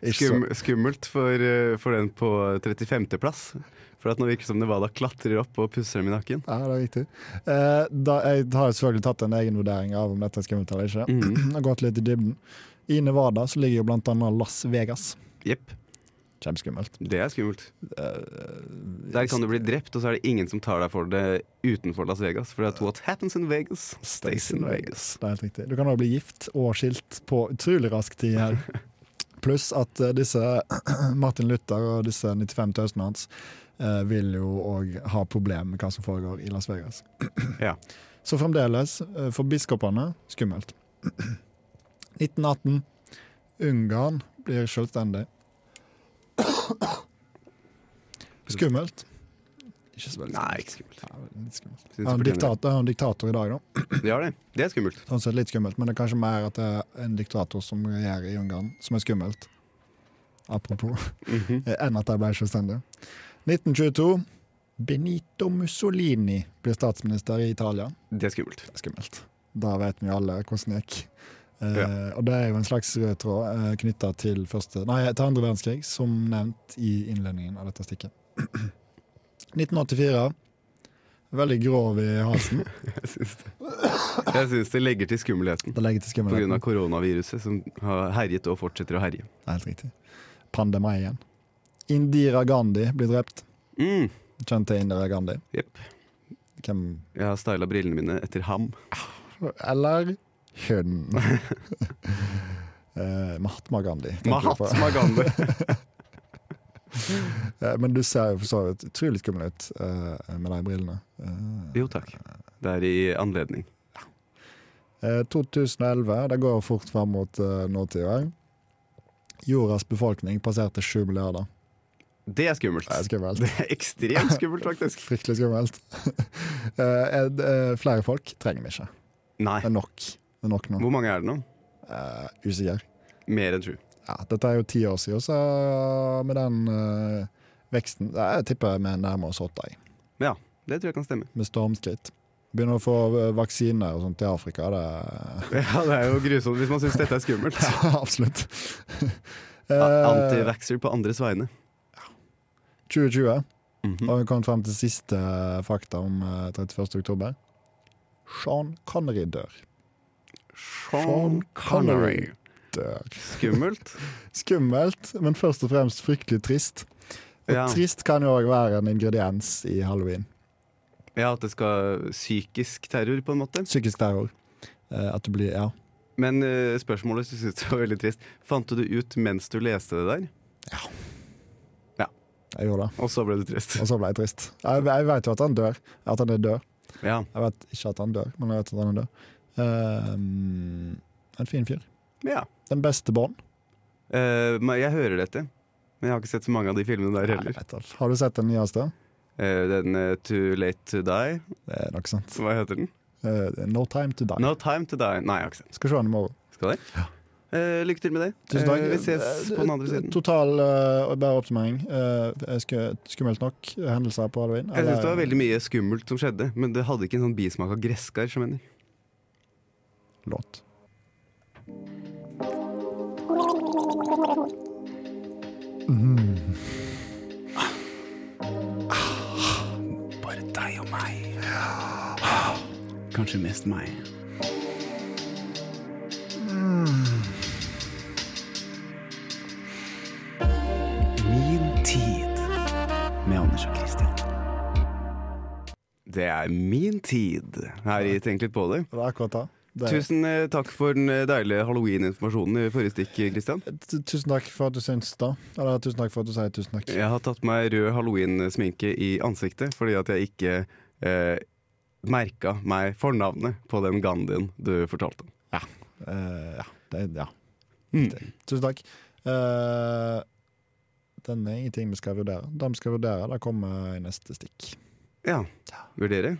Speaker 2: Ikke så-
Speaker 4: Skum, skummelt for, ø, for den på 35.-plass. For at nå virker det som Nevada klatrer opp og pusser dem i nakken.
Speaker 2: Ja, det er riktig. Eh, da, jeg har selvfølgelig tatt en egenvurdering av om dette er skummelt eller ikke.
Speaker 4: Mhm.
Speaker 2: Jeg har gått litt i dybden. I Nevada så ligger jo blant annet Las Vegas.
Speaker 4: Jepp.
Speaker 2: Kjempeskummelt. Eh,
Speaker 4: Det er skummelt. Der kan du bli drept, og så er det ingen som tar deg for det utenfor Las Vegas. For det er what happens in Vegas, stays in Vegas.
Speaker 2: Det er helt riktig. Du kan også bli gift og skilt på utrolig rask tid her. Pluss at eh, disse Martin Luther og disse 95 tøsene hans eh, vil jo òg ha problemer med hva som foregår i Las Vegas.
Speaker 4: Ja.
Speaker 2: Så fremdeles, eh, for biskopene, skummelt. 1918. Ungarn blir selvstendig. Skummelt. Ikke så veldig
Speaker 4: Nei, ikke skummelt.
Speaker 2: Ja, litt skummelt.
Speaker 4: Synes
Speaker 2: Ja, en
Speaker 4: jeg fortjener det.
Speaker 2: diktator, ja, en diktator i dag, da.
Speaker 4: Det er det. Det er skummelt.
Speaker 2: Sånn sett litt skummelt, men det er kanskje mer at det er en diktator som regjerer i Ungarn, som er skummelt. Apropos.
Speaker 4: Mhm.
Speaker 2: Enn at de ble selvstendige. 1922. Benito Mussolini blir statsminister i Italia.
Speaker 4: Det er skummelt.
Speaker 2: Det er skummelt. Da vet vi alle hvordan det gikk. Eh,
Speaker 4: Ja.
Speaker 2: Og det er jo en slags rød tråd eh, knytta til, første- nei, til andre verdenskrig, som nevnt i innledningen av dette stikket. 1984. Veldig grov i halsen.
Speaker 4: Jeg syns det. Jeg syns det legger til skummelheten.
Speaker 2: Det legger til
Speaker 4: På grunn av
Speaker 2: skummelheten.
Speaker 4: koronaviruset som har herjet og fortsetter å herje.
Speaker 2: Det er Helt riktig. Pandemien. Indira Gandhi blir drept.
Speaker 4: Mm.
Speaker 2: Kjente Indira Gandhi.
Speaker 4: Jepp.
Speaker 2: Hvem
Speaker 4: Jeg har styla brillene mine etter ham.
Speaker 2: Eller hun. Eh, Mahatma Gandhi. tenker du på.
Speaker 4: Mahatma Gandhi.
Speaker 2: Eh, Men du ser jo for så vidt utrolig skummel ut eh, med de brillene. Eh,
Speaker 4: Jo takk. Det er i anledning.
Speaker 2: eh, 2011, det går fort fram mot eh, nåtida. Jordas befolkning passerte sju milliarder.
Speaker 4: Det er skummelt.
Speaker 2: Det er skummelt.
Speaker 4: Det er ekstremt skummelt, faktisk.
Speaker 2: Fryktelig skummelt. Eh, en- eh, flere folk trenger vi ikke.
Speaker 4: Nei.
Speaker 2: Det er nok. Det er nok nå.
Speaker 4: Hvor mange er det nå?
Speaker 2: Eh, usikker.
Speaker 4: Mer enn sju.
Speaker 2: Ja, dette er jo ti år siden, så med den eh, veksten ja, Jeg tipper vi nærmer oss åtte, jeg.
Speaker 4: Ja, det tror jeg kan stemme.
Speaker 2: med stormskritt. Begynner å få eh, vaksiner og sånt i Afrika. Det er
Speaker 4: Ja, Det er jo grusomt hvis man syns dette er skummelt.
Speaker 2: Ja, absolutt.
Speaker 4: A-
Speaker 2: Eh,
Speaker 4: Antivaxxer på andres vegne.
Speaker 2: 2020.
Speaker 4: Mhm.
Speaker 2: Og vi kom frem til siste fakta om eh, 31. oktober. Sean Connery dør. Sean Connery. Dør.
Speaker 4: Skummelt.
Speaker 2: Skummelt, men først og fremst fryktelig trist. Og
Speaker 4: Ja.
Speaker 2: trist kan jo òg være en ingrediens i halloween.
Speaker 4: Ja, at det skal psykisk terror, på en måte.
Speaker 2: Psykisk terror. Eh, At du blir Ja.
Speaker 4: Men eh, spørsmålet synes jeg var veldig trist. Fant du det ut mens du leste det der?
Speaker 2: Jeg gjorde det.
Speaker 4: Og så ble det trist.
Speaker 2: Og så ble jeg trist. Jeg, jeg vet jo at han dør. At han er død.
Speaker 4: Ja.
Speaker 2: Jeg vet ikke at han dør, men jeg vet at han er død. Ehm, en fin fyr.
Speaker 4: ja.
Speaker 2: Den beste Bond.
Speaker 4: Eh, men jeg hører dette. Men jeg har ikke sett så mange av de filmene der
Speaker 2: Nei, jeg
Speaker 4: heller.
Speaker 2: vet alt. Har du sett den nyeste?
Speaker 4: Eh, den eh, Too Late To Die,
Speaker 2: Det er nok sant.
Speaker 4: hva heter den?
Speaker 2: Eh, no Time To Die.
Speaker 4: No Time To Die. Nei, jeg har ikke sett.
Speaker 2: Skal se den i morgen.
Speaker 4: Skal det? Eh, lykke til med det.
Speaker 2: Tusen takk.
Speaker 4: Eh, vi ses på den andre siden.
Speaker 2: Total eh, og bare oppsummering. Eh, sku, skummelt nok hendelser på halloween.
Speaker 4: Jeg synes det var veldig mye skummelt som skjedde, men det hadde ikke en sånn bismak av gresskar. som hender.
Speaker 2: låt.
Speaker 1: Bare deg og meg. Kanskje mest meg. Min tid med Anders og Christian.
Speaker 4: Det er min tid her i Tenk litt på det.
Speaker 2: Det var akkurat det. det
Speaker 4: Tusen eh, takk for den eh, deilige halloween-informasjonen i forrige stikk, Christian.
Speaker 2: T- Tusen takk for at du syns det. Eller tusen takk for at du sier tusen takk.
Speaker 4: Jeg har tatt meg rød halloween-sminke i ansiktet fordi at jeg ikke eh, merka meg fornavnet på den Gandhien du fortalte om.
Speaker 2: Eh, ja. Det, ja.
Speaker 4: Mm.
Speaker 2: Tusen takk. Eh, den er ingenting vi skal vurdere. Det vi skal vurdere, det kommer i neste stikk.
Speaker 4: Ja. Vurdere?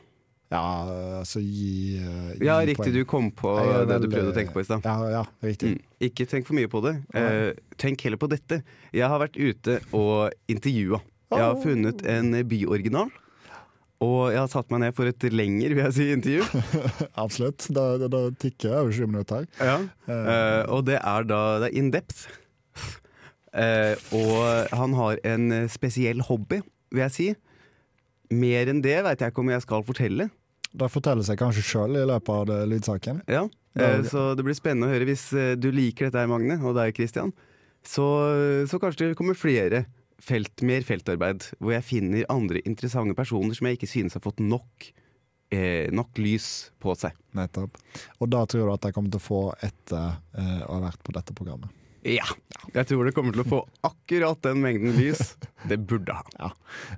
Speaker 2: Ja, eh, altså gi, eh, gi
Speaker 4: Ja, riktig,
Speaker 2: poeng.
Speaker 4: du kom på
Speaker 2: Jeg er
Speaker 4: det du
Speaker 2: veldig-
Speaker 4: prøvde å tenke på i stad.
Speaker 2: Ja, ja, riktig.
Speaker 4: Mm. Ikke tenk for mye på det. Eh, tenk heller på dette. Jeg har vært ute og intervjua. Jeg
Speaker 2: Oh.
Speaker 4: har funnet en byoriginal. Og jeg har satt meg ned for et lengre vil jeg si, intervju.
Speaker 2: Absolutt. Da, da, da tikker jeg over 20 minutter.
Speaker 4: Eh, og det er da det er in depth. Eh, og han har en spesiell hobby, vil jeg si. Mer enn det veit jeg ikke om jeg skal fortelle.
Speaker 2: Det forteller seg kanskje sjøl i løpet av det, lydsaken.
Speaker 4: Ja. Eh, så det blir spennende å høre hvis eh, du liker dette her, Magne, og deg, Christian. Så, så kanskje det kommer flere felt, mer feltarbeid, hvor jeg finner andre interessante personer som jeg ikke synes har fått nok, eh, nok lys på seg.
Speaker 2: Nettopp. Og da tror du at jeg kommer til å få etter eh, å ha vært på dette programmet.
Speaker 4: Ja. Jeg tror det kommer til å få akkurat den mengden lys det burde ha.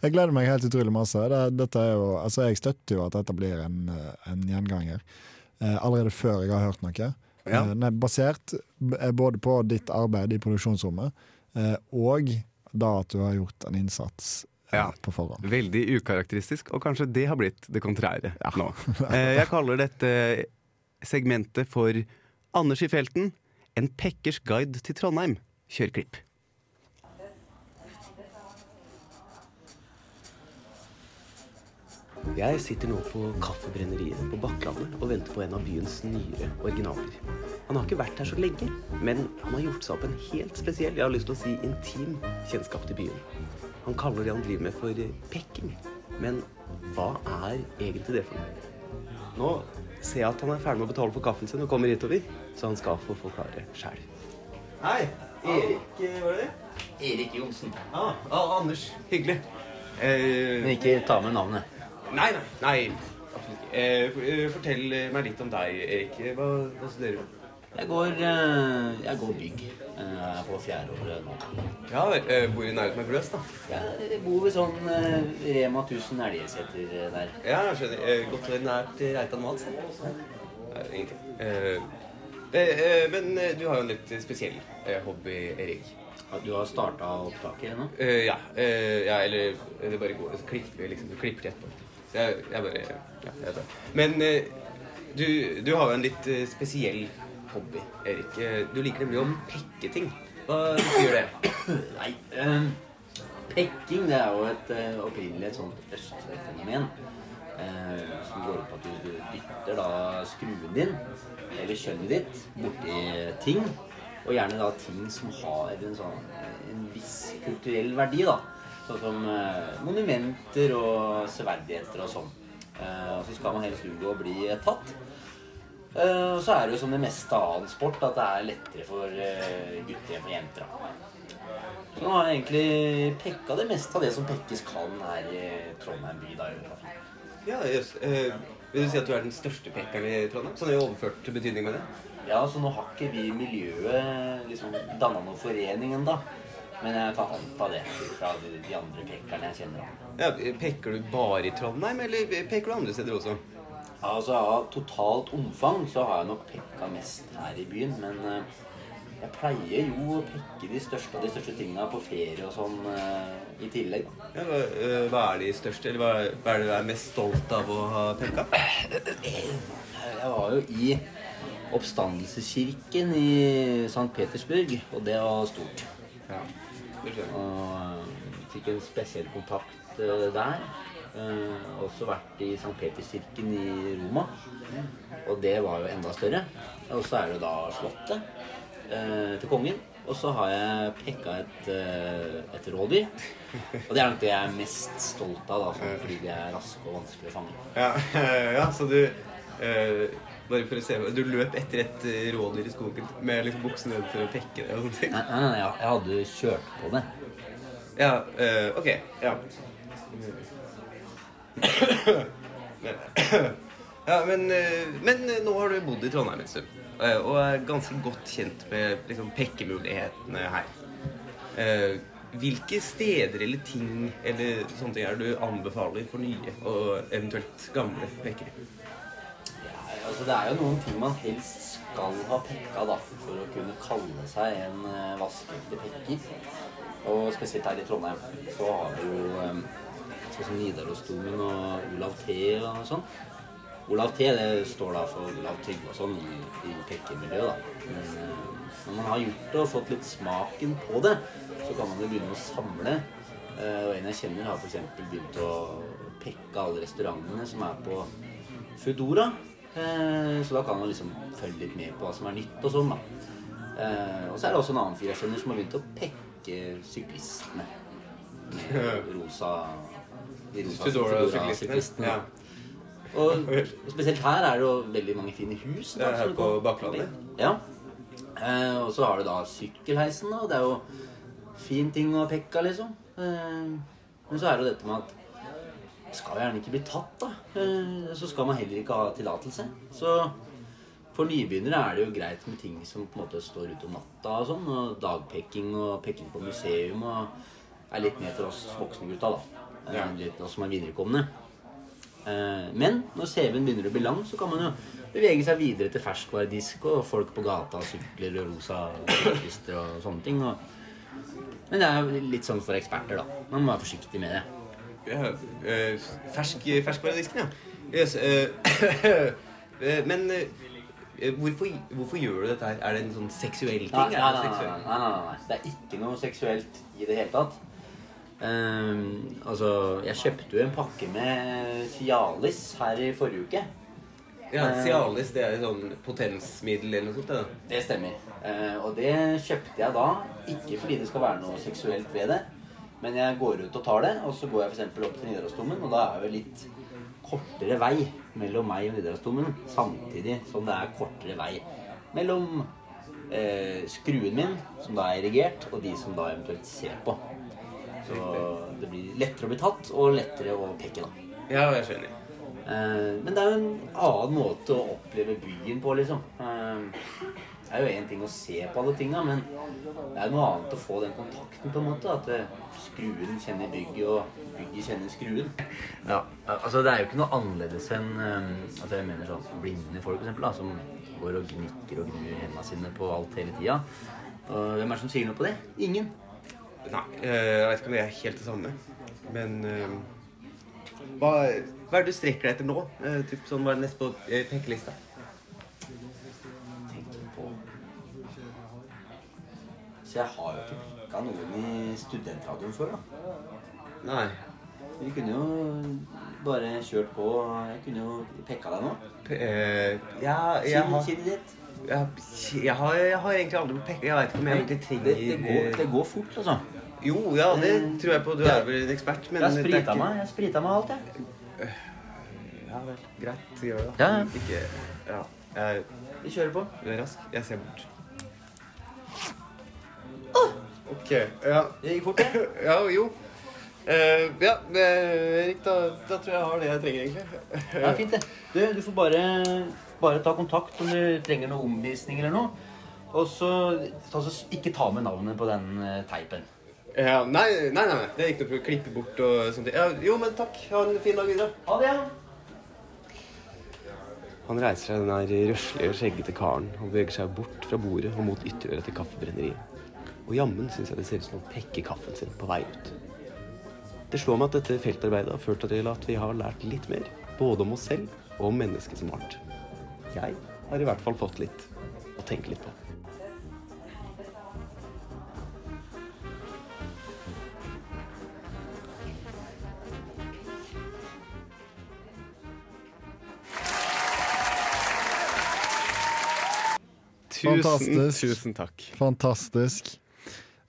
Speaker 2: Jeg gleder meg helt utrolig masse. Det, dette er jo, altså jeg støtter jo at dette blir en, eh, en gjenganger. Eh, allerede før jeg har hørt noe.
Speaker 4: Ja.
Speaker 2: Eh, den er basert b- eh, både på ditt arbeid i produksjonsrommet eh, og da at du har gjort en innsats eh,
Speaker 4: Ja.
Speaker 2: på forhånd.
Speaker 4: Veldig ukarakteristisk, og kanskje det har blitt det kontrære nå. Eh, Jeg kaller dette segmentet for Anders i felten en pekkers guide til Trondheim. Kjør klipp.
Speaker 6: Jeg sitter nå på Kaffebrenneriet på Bakklandet og venter på en av byens nyere originaler. Han har ikke vært her så lenge, men han har gjort seg opp en helt spesiell, jeg har lyst til å si intim, kjennskap til byen. Han kaller det han driver med for eh, pekking. Men hva er egentlig det for noe? Nå ser jeg at han er ferdig med å betale for kaffen sin og kommer hitover, så han skal få forklare sjæl.
Speaker 4: Hei. Erik, var det det?
Speaker 7: Erik Johnsen.
Speaker 4: Ja, ah, Anders. Hyggelig.
Speaker 7: Men
Speaker 4: Eh,
Speaker 7: ikke ta med navnet.
Speaker 4: nei, nei. nei. Absolutt ikke. Eh, for- eh, fortell eh, meg litt om deg, Erik. Eh, Hva, hva studerer du?
Speaker 7: Jeg går, eh, jeg går bygg. Eh, Jeg er på fjerdeåret nå.
Speaker 4: Ja, vel, eh, bor i nærheten av Gløs, da.
Speaker 7: Jeg bor ved sånn eh, Rema 1000 Elgeseter eh, der.
Speaker 4: Ja, jeg skjønner. Eh, godt og nært eh, Reitan Mads. Nei, ingenting. Eh, eh, eh, men eh, du har jo en litt spesiell eh, eh, hobby-Erik.
Speaker 7: Du har starta opptaket ennå?
Speaker 4: Eh, ja, eh, ja, eller det bare går, så klipper vi liksom, du klipper rett på. Så jeg, jeg bare, ja, jeg vet det. Men eh, du, du har jo en litt eh, spesiell hobby, Erik. Eh, du liker nemlig å pekke ting. Hva betyr det?
Speaker 7: Nei. ehm, pekking det er jo et eh, opprinnelig et sånt østfenomen. eh, som går ut på at du, du dytter da skruen din, eller kjønnet ditt, borti ting. Og gjerne da ting som har en, sånn, en viss kulturell verdi, da. Sånn som eh, monumenter og severdigheter og sånn. Eh, og så skal man helst unngå å bli eh, tatt. Eh, Og så er det jo som det meste annen sport at det er lettere for eh, gutter enn for jenter. da. Så nå har jeg egentlig pekka det meste av det som pekkes kan her i Trondheim by. da i Europa.
Speaker 4: Ja, jøss. eh, vil du si at du er den største pekkeren i Trondheim? Sånn i overført betydning med det?
Speaker 7: Ja, så nå har ikke vi i miljøet liksom danna noen forening ennå. Men jeg tar alt av det fra de de andre pekkerne jeg kjenner. da.
Speaker 4: Ja, Pekker du bare i Trondheim, eller peker du andre steder også?
Speaker 7: Altså Av totalt omfang så har jeg nok pekka mest her i byen. Men eh, jeg pleier jo å pekke de største av de største tinga på ferie og sånn eh, i tillegg. da.
Speaker 4: Ja, hva, eh, hva er de største, eller hva, hva er det du er mest stolt av å ha pekka?
Speaker 7: Jeg var jo i oppstandelseskirken i St. Petersburg, og det var stort.
Speaker 4: Ja, det skjønner jeg.
Speaker 7: Og eh, fikk en spesiell kontakt eh, der. Eh, også vært i St. Peterskirken i Roma, og det var jo enda større. Og så er det jo da Slottet eh, til kongen. Og så har jeg pekka et, eh, et rådyr. Og det er nok det jeg er mest stolt av, da, sånn fordi de er raske og vanskelig å fange.
Speaker 4: Ja, ja så du eh, Bare for å se Du løp etter et eh, rådyr i skogen med liksom buksene ned for å pekke det og sånne ting?
Speaker 7: Nei, nei, nei, jeg jeg hadde kjørt på det.
Speaker 4: Ja, eh, ok. Ja. Men, ja, men, eh, men nå har du bodd i Trondheim en stund. eh, Og er ganske godt kjent med liksom, pekkemulighetene her. Eh, Hvilke steder eller ting eller sånne ting er det du anbefaler for nye og eventuelt gamle pekkere?
Speaker 7: Nei, Altså, det er jo noen ting man helst skal ha pekka da, for å kunne kalle seg en eh, vaskeekte pekker. Og spesielt her i Trondheim så har vi jo eh, sånn som Nidarosdomen og Olav T og sånn. Olav T det står da for Olav Trygve og sånn i, i pekkemiljøet, da. Men eh, når man har gjort det og fått litt smaken på det, så kan man jo begynne å samle. Eh, Og en jeg kjenner, har f.eks. begynt å pekke alle restaurantene som er på Foodora. Eh, så da kan man liksom følge litt med på hva som er nytt og sånn, da. Eh, og så er det også en annen fyr jeg kjenner som har begynt å pekke syklistene. Med rosa De rosa
Speaker 4: Foodora-syklistene,
Speaker 7: Foodora-syklistene.
Speaker 4: ja.
Speaker 7: Og spesielt her er det jo veldig mange fine hus.
Speaker 4: Det er her
Speaker 7: som du
Speaker 4: på
Speaker 7: kan-
Speaker 4: Bakklandet.
Speaker 7: Ja. Eh, og så har du da sykkelheisen, da. Det er jo fin ting å pekke av, liksom. Eh, men så er det jo dette med at skal gjerne ikke bli tatt, da. Eh, Så skal man heller ikke ha tillatelse. Så for nybegynnere er det jo greit med ting som på en måte står ute om natta og sånn. Og dagpekking og pekking på museum og er litt mer for oss voksne gutta, da. Eh,
Speaker 4: Ja.
Speaker 7: Litt oss som er viderekomne. Eh, Men når CV-en begynner å bli lang, så kan man jo bevege seg videre til ferskvaredisk og folk på gata, sykler og rosa syklister og sånne ting. Og... Men det er jo litt sånn for eksperter, da. Man må være forsiktig med det.
Speaker 4: Ja, eh, fersk, ferskvaredisken, ja. Yes, eh, eh, men eh, hvorfor, hvorfor gjør du dette her? Er det en sånn seksuell ting?
Speaker 7: Nei,
Speaker 4: Er
Speaker 7: nei,
Speaker 4: det
Speaker 7: nei,
Speaker 4: seksuell?
Speaker 7: nei, nei, nei, nei. Det er ikke noe seksuelt i det hele tatt. Ehm, altså, jeg kjøpte jo en pakke med Cialis her i forrige uke.
Speaker 4: Ja,
Speaker 7: Eh.
Speaker 4: Cialis det er et sånn potensmiddel eller noe sånt? Da.
Speaker 7: Det stemmer. Eh, og det kjøpte jeg da, ikke fordi det skal være noe seksuelt ved det, men jeg går ut og tar det, og så går jeg f.eks. opp til Nidarosdomen, og da er det litt kortere vei mellom meg og Nidarosdomen, samtidig som det er kortere vei mellom eh, skruen min, som da er erigert, og de som da eventuelt ser på. Så det blir lettere å bli tatt, og lettere å peke, da.
Speaker 4: Ja, jeg skjønner.
Speaker 7: Eh, Men det er jo en annen måte å oppleve byen på, liksom. Eh, Det er jo én ting å se på alle tinga, men det er noe annet å få den kontakten, på en måte. At eh, skruen kjenner bygget, og bygget kjenner skruen. Ja, altså Det er jo ikke noe annerledes enn eh, altså jeg mener sånn blinde folk, for eksempel, da, som går og gnikker og gnur hendene sine på alt hele tida. Og hvem er det som sier noe på det? Ingen.
Speaker 4: Nei, eh, jeg vet ikke om det er helt det samme. Men eh, hva, hva er det du strekker deg etter nå? Eh, typ sånn, Hva er det neste på eh, pekkelista?
Speaker 7: Tenker på Så jeg har jo ikke pikka noen i studentradioen før, da.
Speaker 4: Nei.
Speaker 7: Vi kunne jo bare kjørt på. Jeg kunne jo pekka deg nå.
Speaker 4: P eh, ja, jeg
Speaker 7: Siden
Speaker 4: har,
Speaker 7: siden ditt.
Speaker 4: jeg, jeg, har, jeg har egentlig aldri på pekka. Jeg veit ikke om jeg egentlig
Speaker 7: det,
Speaker 4: trenger
Speaker 7: det, går, det
Speaker 4: eh,
Speaker 7: går fort, altså.
Speaker 4: Jo, ja, Eh, det tror jeg på. Du er vel en ekspert, men
Speaker 7: Jeg har
Speaker 4: det er
Speaker 7: sprita
Speaker 4: ikke-
Speaker 7: meg jeg har sprita meg alt, jeg.
Speaker 4: Ja vel. Greit, gjør det.
Speaker 7: Ja, ja.
Speaker 4: Ikke Ja. Jeg
Speaker 7: Vi kjører på.
Speaker 4: du er rask. Jeg ser bort. OK. Ja.
Speaker 7: Det gikk fort, det.
Speaker 4: Ja, jo. Eh, ja, eh, Erik, da, da tror jeg jeg har det jeg trenger, egentlig.
Speaker 7: Det er fint, det. Du, du får bare, bare ta kontakt om du trenger noe omvisning eller noe. Og så ta så- ikke ta med navnet på den eh, teipen.
Speaker 4: Ja, nei, nei, nei, nei, det er ikke noe problem. Klippe bort og sånt. Ja, jo, men takk. Ha en fin dag videre.
Speaker 7: Ha det, ja.
Speaker 6: Han reiser seg, den her røslige og skjeggete karen, og beveger seg bort fra bordet og mot ytterøret til kaffebrenneriet. Og jammen syns jeg det ser ut som han pekker kaffen sin på vei ut. Det slår meg at dette feltarbeidet har ført til at vi har lært litt mer, både om oss selv og om mennesket som art. Jeg har i hvert fall fått litt å tenke litt på.
Speaker 2: Fantastisk.
Speaker 4: tusen takk.
Speaker 2: Fantastisk.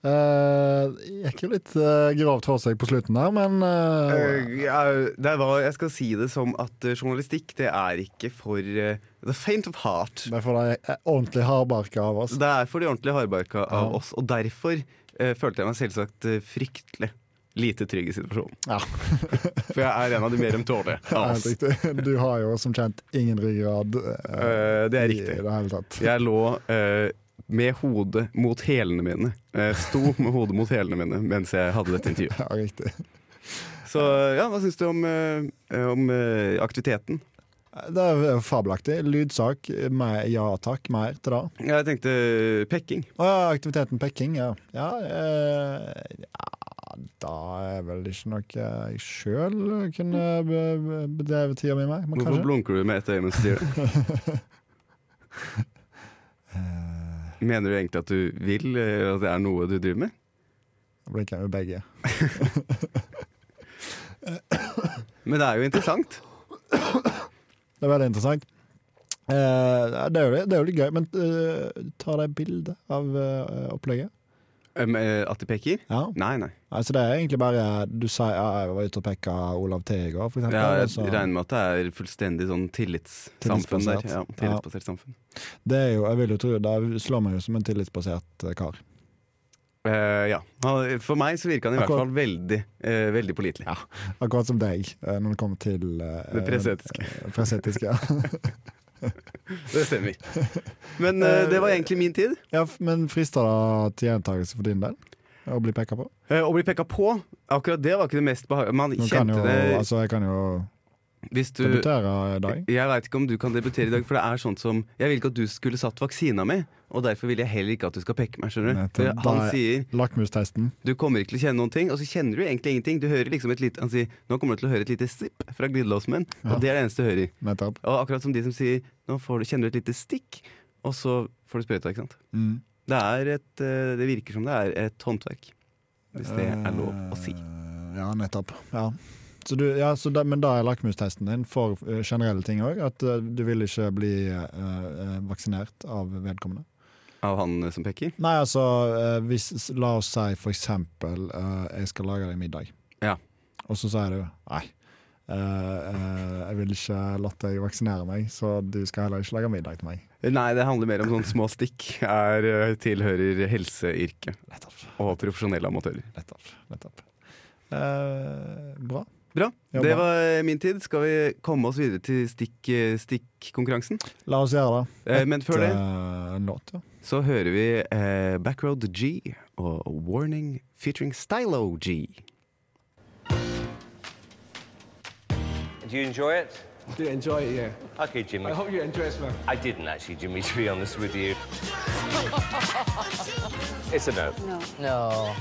Speaker 2: Eh, gikk jo litt eh, grovt for seg på slutten der, men eh,
Speaker 4: det var, jeg skal si det som at eh, journalistikk, det er ikke for eh, the faint of heart.
Speaker 2: det får de ordentlig hardbarka av oss.
Speaker 4: Det er for de ordentlige hardbarka av
Speaker 2: Ja.
Speaker 4: oss, og derfor eh, følte jeg meg selvsagt eh, fryktelig lite trygg i situasjonen.
Speaker 2: Ja,
Speaker 4: For jeg er en av de mer ømtålige av
Speaker 2: helt
Speaker 4: oss.
Speaker 2: riktig. Du har jo som kjent ingen ryggrad eh,
Speaker 4: Eh, det er riktig.
Speaker 2: i det hele tatt.
Speaker 4: Jeg lå eh, med hodet mot hælene mine. Eh, sto med hodet mot hælene mine mens jeg hadde dette intervjuet.
Speaker 2: Ja, riktig.
Speaker 4: Så ja, hva syns du om, eh, om eh, aktiviteten?
Speaker 2: Det er jo fabelaktig. Lydsak, mer, ja takk, mer til det.
Speaker 4: Ja, Jeg tenkte eh, pekking.
Speaker 2: Å ja, aktiviteten pekking, ja. Ja, eh, ja Da er vel ikke noe jeg sjøl kunne be- be- bedrevet tida mi med. men
Speaker 4: Hvorfor
Speaker 2: kanskje?
Speaker 4: blunker du med ett øye mens du sier det?
Speaker 2: Eh.
Speaker 4: Mener du egentlig at du vil, eh, at det er noe du driver med?
Speaker 2: Da blinker jeg med begge.
Speaker 4: Men det er jo interessant.
Speaker 2: Det er veldig interessant. Eh, det, er jo, litt- det er jo litt gøy, men eh, ta deg bilde av eh, opplegget.
Speaker 4: Um, eh, at de peker?
Speaker 2: Ja.
Speaker 4: Nei, nei.
Speaker 2: Altså, det er egentlig bare du sier ja, 'jeg var ute og pekka Olav T i går', for eksempel.
Speaker 4: Jeg
Speaker 2: og så-
Speaker 4: regner med at det er fullstendig sånn tillitssamfunn der.
Speaker 2: Tillitsbasert.
Speaker 4: Ja, tillitsbasert samfunn.
Speaker 2: Det er jo, jeg vil jo tro, det slår meg jo som en tillitsbasert eh, kar.
Speaker 4: Eh, ja. Han- For meg så virka han i hvert
Speaker 2: Akkurat.
Speaker 4: fall veldig, eh, veldig pålitelig.
Speaker 2: Akkurat som deg, eh, når det kommer til eh,
Speaker 4: Det presseetiske.
Speaker 2: eh, presseetiske, ja.
Speaker 4: Det stemmer. Men eh, det var egentlig min tid.
Speaker 2: ja, f- men frister det til gjentakelse for din del? Å bli peka på?
Speaker 4: Eh, å bli pekka på, akkurat det var ikke det mest behagelige. Man
Speaker 2: Nå kan
Speaker 4: kjente
Speaker 2: jo,
Speaker 4: det
Speaker 2: altså, jeg kan jo
Speaker 4: hvis du
Speaker 2: debutere i dag.
Speaker 4: Jeg veit ikke om du kan debutere i dag, for det er sånn som Jeg ville ikke at du skulle satt vaksina mi, og derfor vil jeg heller ikke at du skal pekke meg, skjønner du.
Speaker 2: Nettopp.
Speaker 4: For han
Speaker 2: Da er-
Speaker 4: sier
Speaker 2: Lakmustesten.
Speaker 4: Du kommer ikke til å kjenne noen ting, og så kjenner du egentlig ingenting. Du hører liksom et lite Han sier Nå kommer du til å høre et lite sipp fra glidelåsen min, og
Speaker 2: Ja.
Speaker 4: det er det eneste du hører.
Speaker 2: Nettopp.
Speaker 4: Og akkurat som de som sier Nå får du, kjenner du et lite stikk, og så får du sprøyta, ikke sant.
Speaker 2: Mm.
Speaker 4: Det, er et, eh, det virker som det er et håndverk, hvis det er lov å si.
Speaker 2: Eh, Ja, nettopp. Ja. Så du, ja, så da- men da er lakmustesten din for eh, generelle ting òg? At eh, du vil ikke bli eh, eh, vaksinert av vedkommende?
Speaker 4: Av han eh, som peker?
Speaker 2: Nei, altså eh, hvis, La oss si for eksempel eh, jeg skal lage deg middag.
Speaker 4: Ja.
Speaker 2: Og så sier du nei. eh, eh, jeg vil ikke latt deg vaksinere meg, så du skal heller ikke lage middag til meg.
Speaker 4: Nei, det handler mer om sånne små stikk. Er, eh, tilhører helseyrket
Speaker 2: Nettopp.
Speaker 4: og profesjonelle amatører.
Speaker 2: Nettopp. nettopp. Eh, bra.
Speaker 4: Bra.
Speaker 2: Ja,
Speaker 4: Det
Speaker 2: bra.
Speaker 4: var eh, min tid. Skal vi komme oss videre til stikk, eh, stikkkonkurransen?
Speaker 2: La oss gjøre det.
Speaker 4: Eh, men før det
Speaker 2: Eh, en låt, ja.
Speaker 4: så hører vi eh, Backroad G og Warning featuring Stylo G.
Speaker 8: Do you enjoy it?
Speaker 9: do enjoy it, yeah.
Speaker 8: Okay, Jimmy.
Speaker 9: I hope you enjoy it, man.
Speaker 8: I didn't actually, Jimmy, to be honest with you. It's a no.
Speaker 9: No.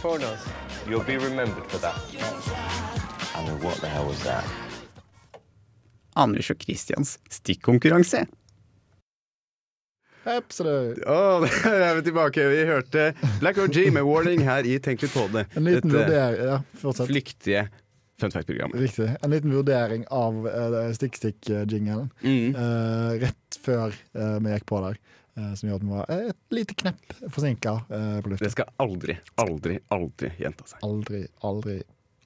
Speaker 8: You'll be remembered for that.
Speaker 7: I mean, what the hell was that?
Speaker 5: Anders og Christians stikkonkurranse.
Speaker 2: Absolutt.
Speaker 4: Å, der er vi tilbake. Vi hørte Black OG med warning her i Tenk litt på det.
Speaker 2: En liten
Speaker 4: Dette
Speaker 2: vurdering Ja, fortsett.
Speaker 4: flyktige fun fact-programmet.
Speaker 2: Riktig. En liten vurdering av eh, stikk-stikk-jingelen
Speaker 4: Mm.
Speaker 2: rett før eh, vi gikk på der. eh, som gjorde at vi var eh, et lite knepp forsinka på
Speaker 4: Det
Speaker 2: lufta.
Speaker 4: skal aldri, aldri, aldri gjenta seg.
Speaker 2: Aldri, aldri,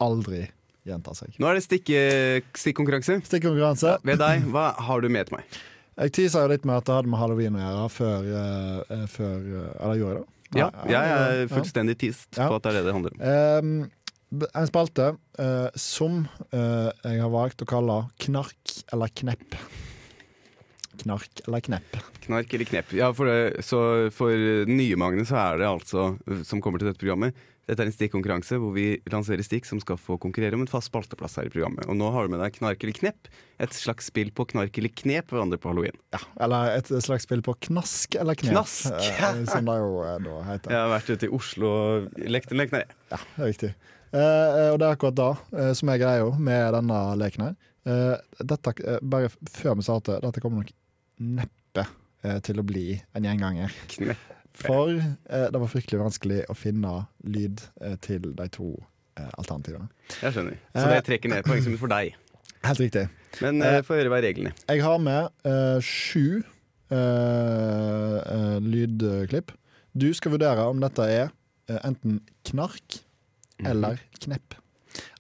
Speaker 2: aldri gjenta seg.
Speaker 4: Nå er det stikke- stikkonkurranse.
Speaker 2: Stikkonkurranse.
Speaker 4: Ved deg, hva har du med til meg?
Speaker 2: Jeg teasa jo litt med at det hadde med halloween å gjøre før, eh, eh, før eh, Eller gjorde jeg det?
Speaker 4: Ja,
Speaker 2: Nei,
Speaker 4: jeg
Speaker 2: ja.
Speaker 4: er fullstendig teased
Speaker 2: Ja.
Speaker 4: på at det er det det handler om.
Speaker 2: Ehm, b- en spalte eh, som eh, jeg har valgt å kalle Knark eller knepp. Knark eller knepp.
Speaker 4: Knark eller knep. Ja, for, det, så for eh, nye Magne så er det altså, som kommer til dette programmet Dette er en stikkonkurranse hvor vi lanserer stikk som skal få konkurrere om en fast spalteplass her i programmet. Og nå har du med deg Knark eller knep. Et slags spill på knark eller knep hverandre på halloween.
Speaker 2: Eller et slags spill på knask eller knep.
Speaker 4: Knask.
Speaker 2: eh, som det jo eh, da heter.
Speaker 4: Jeg har vært ute i Oslo og lekt en lek der, jeg.
Speaker 2: Ja, det er riktig. Eh, og det er akkurat da eh, som er greia med denne leken her. Eh, dette, eh, bare f- før vi starter, dette kommer nok neppe eh, til å bli en gjenganger.
Speaker 4: Knep.
Speaker 2: For eh, det var fryktelig vanskelig å finne lyd eh, til de to eh, alternativene.
Speaker 4: Jeg skjønner. Så det trekker ned poengsummen for deg.
Speaker 2: Helt riktig.
Speaker 4: Men eh, få høre hva er reglene.
Speaker 2: Jeg har med eh, sju eh, eh, lydklipp. Du skal vurdere om dette er eh, enten knark
Speaker 4: Mhm.
Speaker 2: eller knepp.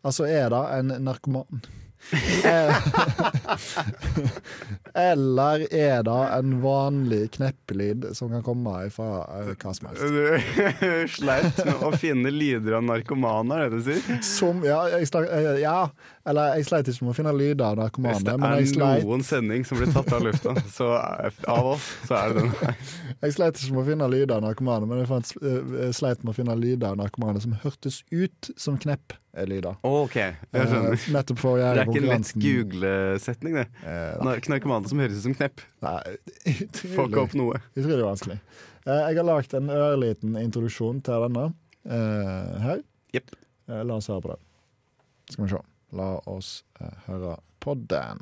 Speaker 2: Altså er det en narkoman? Eh, eller er det en vanlig kneppelyd som kan komme fra eh, hva som helst?
Speaker 4: Du sleit med å finne lyder av narkomane, er det det du sier?
Speaker 2: Som, ja, jeg snak, eh, ja, eller jeg sleit ikke med å finne lyder
Speaker 4: Hvis
Speaker 2: av
Speaker 4: det
Speaker 2: narkomane, men jeg
Speaker 4: er
Speaker 2: sleit
Speaker 4: noen sending som blir tatt av lufta, så er, av oss, så er det den her.
Speaker 2: Jeg sleit ikke med å finne lyder av narkomane, men jeg fant, eh, sleit med å finne lyder av narkomane som hørtes ut som knepp-lyder.
Speaker 4: Ok, jeg skjønner.
Speaker 2: Eh, nettopp for å
Speaker 4: Det er
Speaker 2: gjøre
Speaker 4: ikke en lett
Speaker 2: konkurransen eh,
Speaker 4: Google-setning, det. Nar- Narkomane som høres ut som knepp.
Speaker 2: Nei,
Speaker 4: Fuck opp
Speaker 2: utrolig,
Speaker 4: noe.
Speaker 2: utrolig vanskelig. Eh, jeg har lagd en ørliten introduksjon til denne eh, her.
Speaker 4: Jepp.
Speaker 2: Eh, la oss høre på det. Skal vi se. La oss eh, høre på den.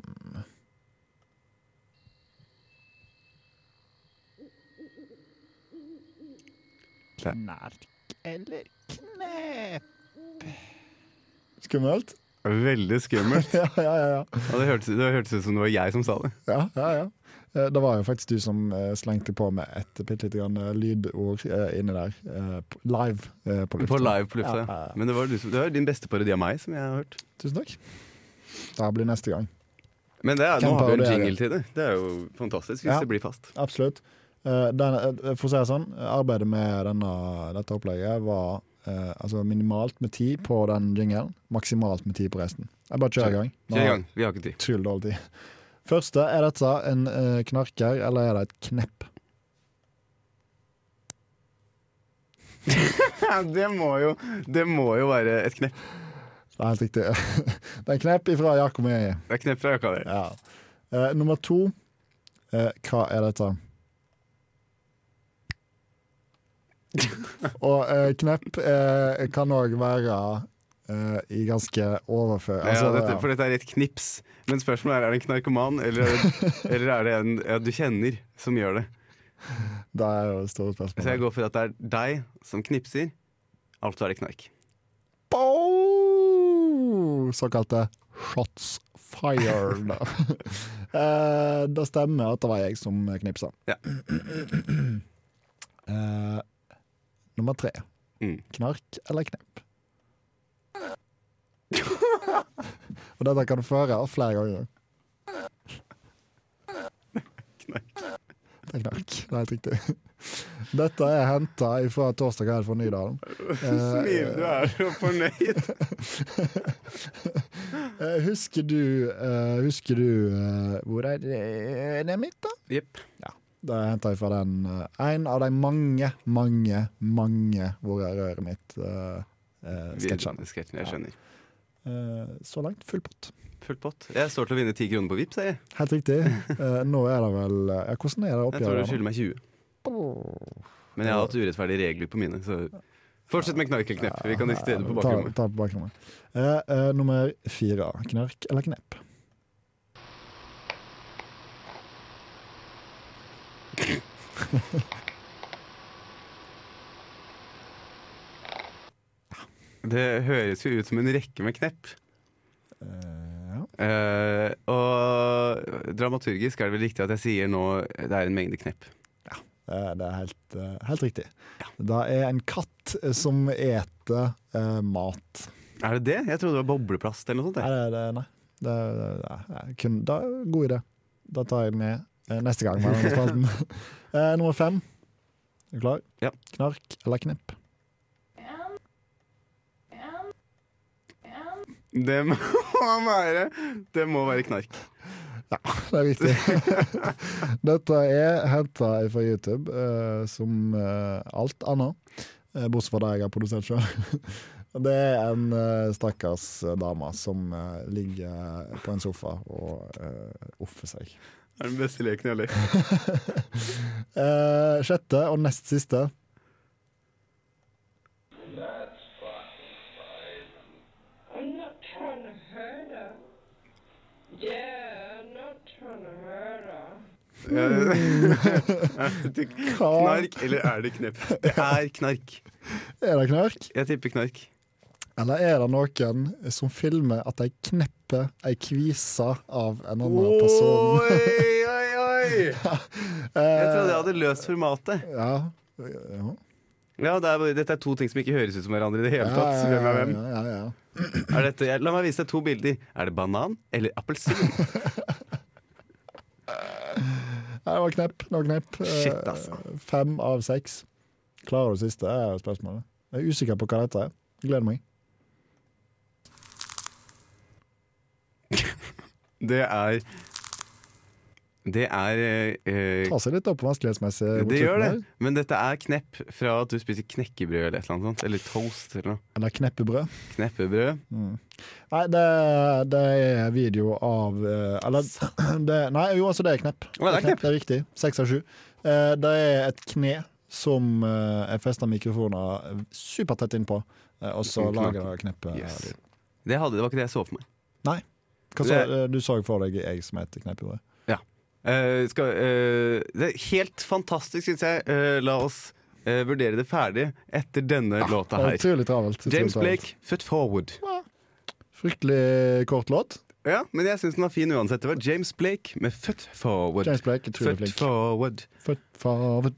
Speaker 9: Knark eller knep?
Speaker 2: Skummelt?
Speaker 4: Veldig skummelt.
Speaker 2: ja, ja, ja. ja.
Speaker 4: Ja, det, hørtes, det hørtes ut som det var jeg som sa det.
Speaker 2: Ja, ja, ja. Eh, Det var jo faktisk du som eh, slengte på med et bitte lite grann eh, lydord eh, inni der. eh, p- Live eh, på
Speaker 4: På
Speaker 2: lufta.
Speaker 4: live på lufta.
Speaker 2: Ja, ja, ja.
Speaker 4: Men det var, du som, det var din beste parodi av meg, som jeg har hørt.
Speaker 2: Tusen takk. Det blir neste gang.
Speaker 4: Men det er, nå har vi jo
Speaker 2: Hvem
Speaker 4: en
Speaker 2: parodierer?
Speaker 4: jingle til det. Det er jo fantastisk hvis
Speaker 2: Ja.
Speaker 4: det blir fast.
Speaker 2: Absolutt. Eh, Den, eh, for å si det sånn, eh, arbeidet med denne, dette opplegget var eh, altså minimalt med tid på den jingelen, maksimalt med tid på resten. Jeg bare kjører i gang. Nå
Speaker 4: Kjør i
Speaker 2: har-
Speaker 4: gang. Vi har ikke tid.
Speaker 2: Utrolig dårlig tid. Første, er dette en eh, knarker, eller er det et knepp?
Speaker 4: Det må jo, det må jo være et knepp.
Speaker 2: Det er helt riktig. Det er en knepp ifra Jakob Meje.
Speaker 4: Det er knepp fra jakka di.
Speaker 2: Ja. Eh, nummer to eh, Hva er dette? Og eh, knepp eh, kan òg være eh, i ganske overfør...
Speaker 4: Ja,
Speaker 2: Altså,
Speaker 4: dette,
Speaker 2: ja.
Speaker 4: for dette er et knips. Men spørsmålet er er det en knarkoman, eller er det, eller er det en ja, du kjenner, som gjør det?
Speaker 2: det er jo det store
Speaker 4: Så jeg
Speaker 2: spørsmålet.
Speaker 4: går for at det er deg som knipser, altså er det knark.
Speaker 2: Boom! Såkalte shots fired. eh, det stemmer at det var jeg som knipsa.
Speaker 4: Ja.
Speaker 2: eh, nummer tre.
Speaker 4: Mm.
Speaker 2: Knark eller knepp? Og dette kan du få høre flere ganger. Det er knark. Det er helt riktig. Dette er henta fra Torsdag kveld fra Nydalen.
Speaker 4: Eh, Smil, du er så fornøyd.
Speaker 2: Eh, husker du, eh, husker du eh, Hvor er det, det er mitt, da?
Speaker 4: Jepp.
Speaker 2: Det er henta fra den eh, en av de mange, mange, mange 'Hvor er røret mitt?' Uh, Sketsjene.
Speaker 4: Vi- Sketsjen, jeg skjønner.
Speaker 2: Eh, så langt full pott.
Speaker 4: Fullt pott. Jeg står til å vinne ti kroner på Vipps, jeg.
Speaker 2: Helt riktig. Eh, nå er det vel eh, ja, Hvordan er det
Speaker 4: Jeg tror du
Speaker 2: oppgjøret?
Speaker 4: skylder meg 20.
Speaker 2: nå?
Speaker 4: Men jeg har hatt urettferdige regler på mine, så fortsett med knark eller knepp. Vi kan diskutere det på
Speaker 2: Eh, Ta,
Speaker 4: bakrommet.
Speaker 2: ta på bakrommet. Eh, eh, nummer fire. Knark eller knep?
Speaker 4: Det høres jo ut som en rekke med knepp.
Speaker 2: Eh, ja.
Speaker 4: Eh, og dramaturgisk er det vel riktig at jeg sier nå det er en mengde knepp.
Speaker 2: Eh, Det er helt, eh, helt riktig. Det er en katt eh, som eter eh, mat.
Speaker 4: Er det det? Jeg trodde det var bobleplast eller noe sånt.
Speaker 2: Nei,
Speaker 4: jeg.
Speaker 2: det, det, nei. Det, det, det, er kun, det er en god idé. Da tar jeg den med eh, neste gang. med denne spalten. eh, nummer fem. Er du klar?
Speaker 4: Ja.
Speaker 2: Knark eller knepp?
Speaker 4: Det må være Det må være knark.
Speaker 2: Det er riktig. Dette er henta fra YouTube, eh, som eh, alt annet. eh, Bortsett fra det jeg har produsert sjøl. Det er en eh, stakkars eh, dame som eh, ligger på en sofa og eh, offer seg.
Speaker 4: Det er den beste leken jeg har lekt.
Speaker 2: Eh, sjette og nest siste. Hva?
Speaker 4: Eh, Knark eller er det knepp? Det er knark.
Speaker 2: Er det knark,
Speaker 4: Jeg tipper knark.
Speaker 2: eller er det noen som filmer at de knepper ei kvise av en annen person?
Speaker 4: Oi, oi, oi! Jeg trodde jeg hadde løst formatet.
Speaker 2: Ja. ja.
Speaker 4: Ja, det er, Dette er to ting som ikke høres ut som hverandre i det hele
Speaker 2: Ja,
Speaker 4: tatt.
Speaker 2: ja,
Speaker 4: Hvem er
Speaker 2: ja,
Speaker 4: hvem?
Speaker 2: ja, ja, ja.
Speaker 4: Er dette, jeg, la meg vise deg to bilder. Er det banan eller appelsin?
Speaker 2: Nei, Det var knepp. Det var knepp. Eh,
Speaker 4: Shit, altså.
Speaker 2: Fem av seks. Klarer du det siste? er jo spørsmålet. Jeg er usikker på hva dette er. Gleder meg.
Speaker 4: Det er Det er eh,
Speaker 2: Ta seg litt opp vanskelighetsmessig. mot
Speaker 4: Det gjør det.
Speaker 2: slutten her.
Speaker 4: Men dette er knepp fra at du spiser knekkebrød eller et eller annet sånt. Eller toast eller noe.
Speaker 2: Eller kneppebrød.
Speaker 4: Kneppebrød.
Speaker 2: Nei, det, det er video av eh, Eller det, Nei, jo, altså det er knepp.
Speaker 4: Å, det er knepp.
Speaker 2: Det er riktig. Seks av sju. Eh, Det er et kne som eh, er festa mikrofoner eh, supertett innpå, eh, og så
Speaker 4: Som
Speaker 2: lager det kneppet.
Speaker 4: Yes. Det, hadde, det var ikke det jeg så for meg.
Speaker 2: Nei. Hva så,
Speaker 4: Det-
Speaker 2: eh, du så for deg jeg som heter kneppebrød?
Speaker 4: Eh, skal, eh, det er helt fantastisk, syns jeg. Eh, la oss eh, vurdere det ferdig etter denne låta
Speaker 2: Det Ah, er Ah.
Speaker 4: her.
Speaker 2: Utrolig travelt. utrolig
Speaker 4: James
Speaker 2: travelt.
Speaker 4: Blake, 'Foot Forward'.
Speaker 2: Fryktelig kort låt.
Speaker 4: Ja, Men jeg syns den var fin uansett. Det var James Blake med 'Foot Forward'.
Speaker 2: James Blake,
Speaker 4: Foot
Speaker 2: utrolig flink.
Speaker 4: forward.
Speaker 2: Foot forward.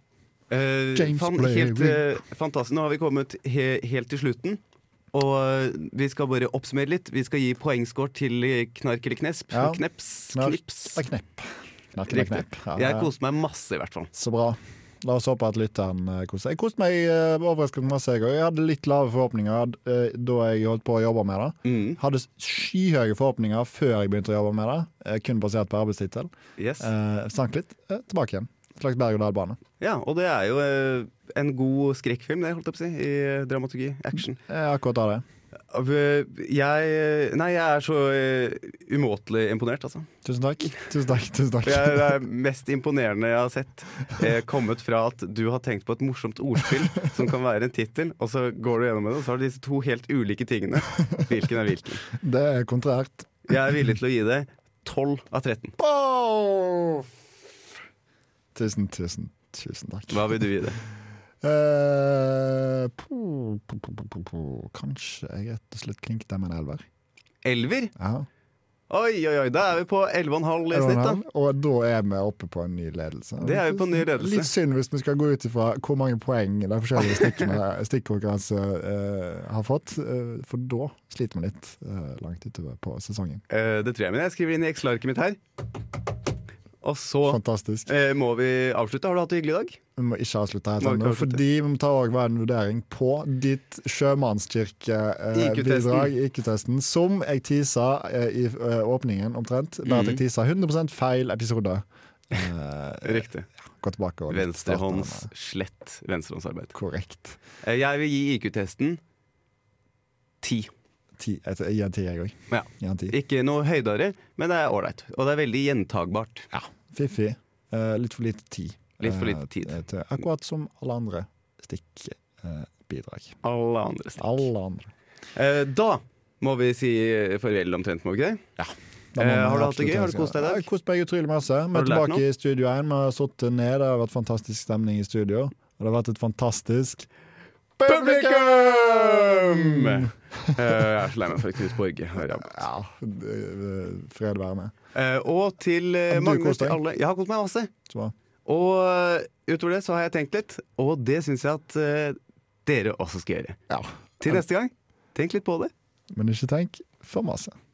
Speaker 4: Eh,
Speaker 2: James
Speaker 4: fan,
Speaker 2: Blake.
Speaker 4: helt, eh, fantastisk. Nå har vi kommet he helt til slutten. Og eh, vi skal bare oppsummere litt. Vi skal gi poengscore til eh, knark eller knesp.
Speaker 2: Ja.
Speaker 4: Kneps.
Speaker 2: Knark.
Speaker 4: Knips.
Speaker 2: Det er knepp. Knark, knark,
Speaker 4: Riktig.
Speaker 2: knepp. Ja,
Speaker 4: Jeg
Speaker 2: ja.
Speaker 4: koste meg masse, i hvert fall.
Speaker 2: Så bra. La oss håpe at lytteren eh, koser seg. Jeg koste meg eh, overraskende masse. Jeg, og jeg hadde litt lave forhåpninger eh, da jeg holdt på å jobbe med det.
Speaker 4: Mm.
Speaker 2: Hadde skyhøye forhåpninger før jeg begynte å jobbe med det, eh, kun basert på arbeidstittel.
Speaker 4: Yes.
Speaker 2: Eh, sank litt. Eh, tilbake igjen. Slags berg-og-dal-bane.
Speaker 4: Ja, og det er jo eh, en god skrekkfilm, det, holdt jeg på å si. I eh, dramaturgi. Action.
Speaker 2: Eh, akkurat det er det. Mm.
Speaker 4: Av, eh, Jeg Nei, jeg er så eh, umåtelig imponert, altså.
Speaker 2: Tusen takk. Tusen takk. Tusen takk.
Speaker 4: Det er det er mest imponerende jeg har sett. Eh, kommet fra at du har tenkt på et morsomt ordspill som kan være en tittel, og så går du gjennom det, og så har du disse to helt ulike tingene. Hvilken er hvilken?
Speaker 2: Det er kontrært.
Speaker 4: Jeg er villig til å gi deg 12 av 13.
Speaker 2: Tusen, tusen, tusen takk.
Speaker 4: Hva vil du gi det?
Speaker 2: Eh, po, po, po, po, po, po. Kanskje jeg rett og slett klinket dem en elver.
Speaker 4: Elver?
Speaker 2: Ja.
Speaker 4: Oi, oi, oi, da er vi på 11,5 i snitt, da.
Speaker 2: Og da er vi oppe på en ny ledelse.
Speaker 4: Det er vi på en ny ledelse.
Speaker 2: Litt synd hvis vi skal gå ut ifra hvor mange poeng de forskjellige stikkene, stikkonkurranse eh, har fått, eh, for da sliter vi litt eh, langt utover på sesongen.
Speaker 4: Eh, det tror jeg, men jeg skriver inn i Excel-arket mitt her. Og så
Speaker 2: Fantastisk.
Speaker 4: eh, må vi avslutte. Har du hatt det hyggelig i dag?
Speaker 2: Vi må ikke avslutte helt
Speaker 4: Må vi
Speaker 2: ennå,
Speaker 4: ikke avslutte?
Speaker 2: fordi vi må ta også være en vurdering på ditt
Speaker 4: IQ-testen.
Speaker 2: sjømannskirkebidrag, IQ-testen, som jeg tisa eh, i eh, åpningen omtrent. Bare
Speaker 4: Mhm.
Speaker 2: at jeg tisa 100 feil episode. Eh,
Speaker 4: Riktig.
Speaker 2: Gå tilbake og
Speaker 4: Venstrehånds
Speaker 2: starte
Speaker 4: slett venstrehåndsarbeid.
Speaker 2: denne. Korrekt.
Speaker 4: Eh, Jeg vil gi IQ-testen 10.
Speaker 2: Ti, jeg jeg gir en ti, jeg òg.
Speaker 4: Ja. Ikke noe høydere, men det er ålreit. Og det er veldig gjentagbart.
Speaker 2: Fiffi. Eh, litt for lite tid.
Speaker 4: Litt for lite
Speaker 2: eh,
Speaker 4: tid.
Speaker 2: Til, akkurat som alle andre stikkbidrag.
Speaker 4: Alle andre steder.
Speaker 2: alle andre.
Speaker 4: Eh, da må vi si eh, farvel omtrent, må vi ikke det?
Speaker 2: Da må
Speaker 4: Eh,
Speaker 2: vi
Speaker 4: har du hatt det
Speaker 2: absolutt
Speaker 4: gøy? Har du
Speaker 2: ønske-
Speaker 4: kost deg i dag?
Speaker 2: Jeg har kost meg utrolig masse. Vi er
Speaker 4: du lært
Speaker 2: tilbake i Studio 1. Vi har sittet nede, det har vært fantastisk stemning i studio. Og det har vært et fantastisk
Speaker 4: Publikum! Eh, jeg er så lei meg for at Knut Borge har rablet.
Speaker 2: Ja, det- det- fred være med.
Speaker 4: Eh, og til eh,
Speaker 2: Har du
Speaker 4: Magnus,
Speaker 2: kost deg?
Speaker 4: til alle. Jeg har kost meg masse.
Speaker 2: Så bra.
Speaker 4: Og eh, utover det så har jeg tenkt litt, og det syns jeg at eh, dere også skal gjøre.
Speaker 2: Ja.
Speaker 4: Til neste gang, tenk litt på det.
Speaker 2: Men ikke tenk for masse.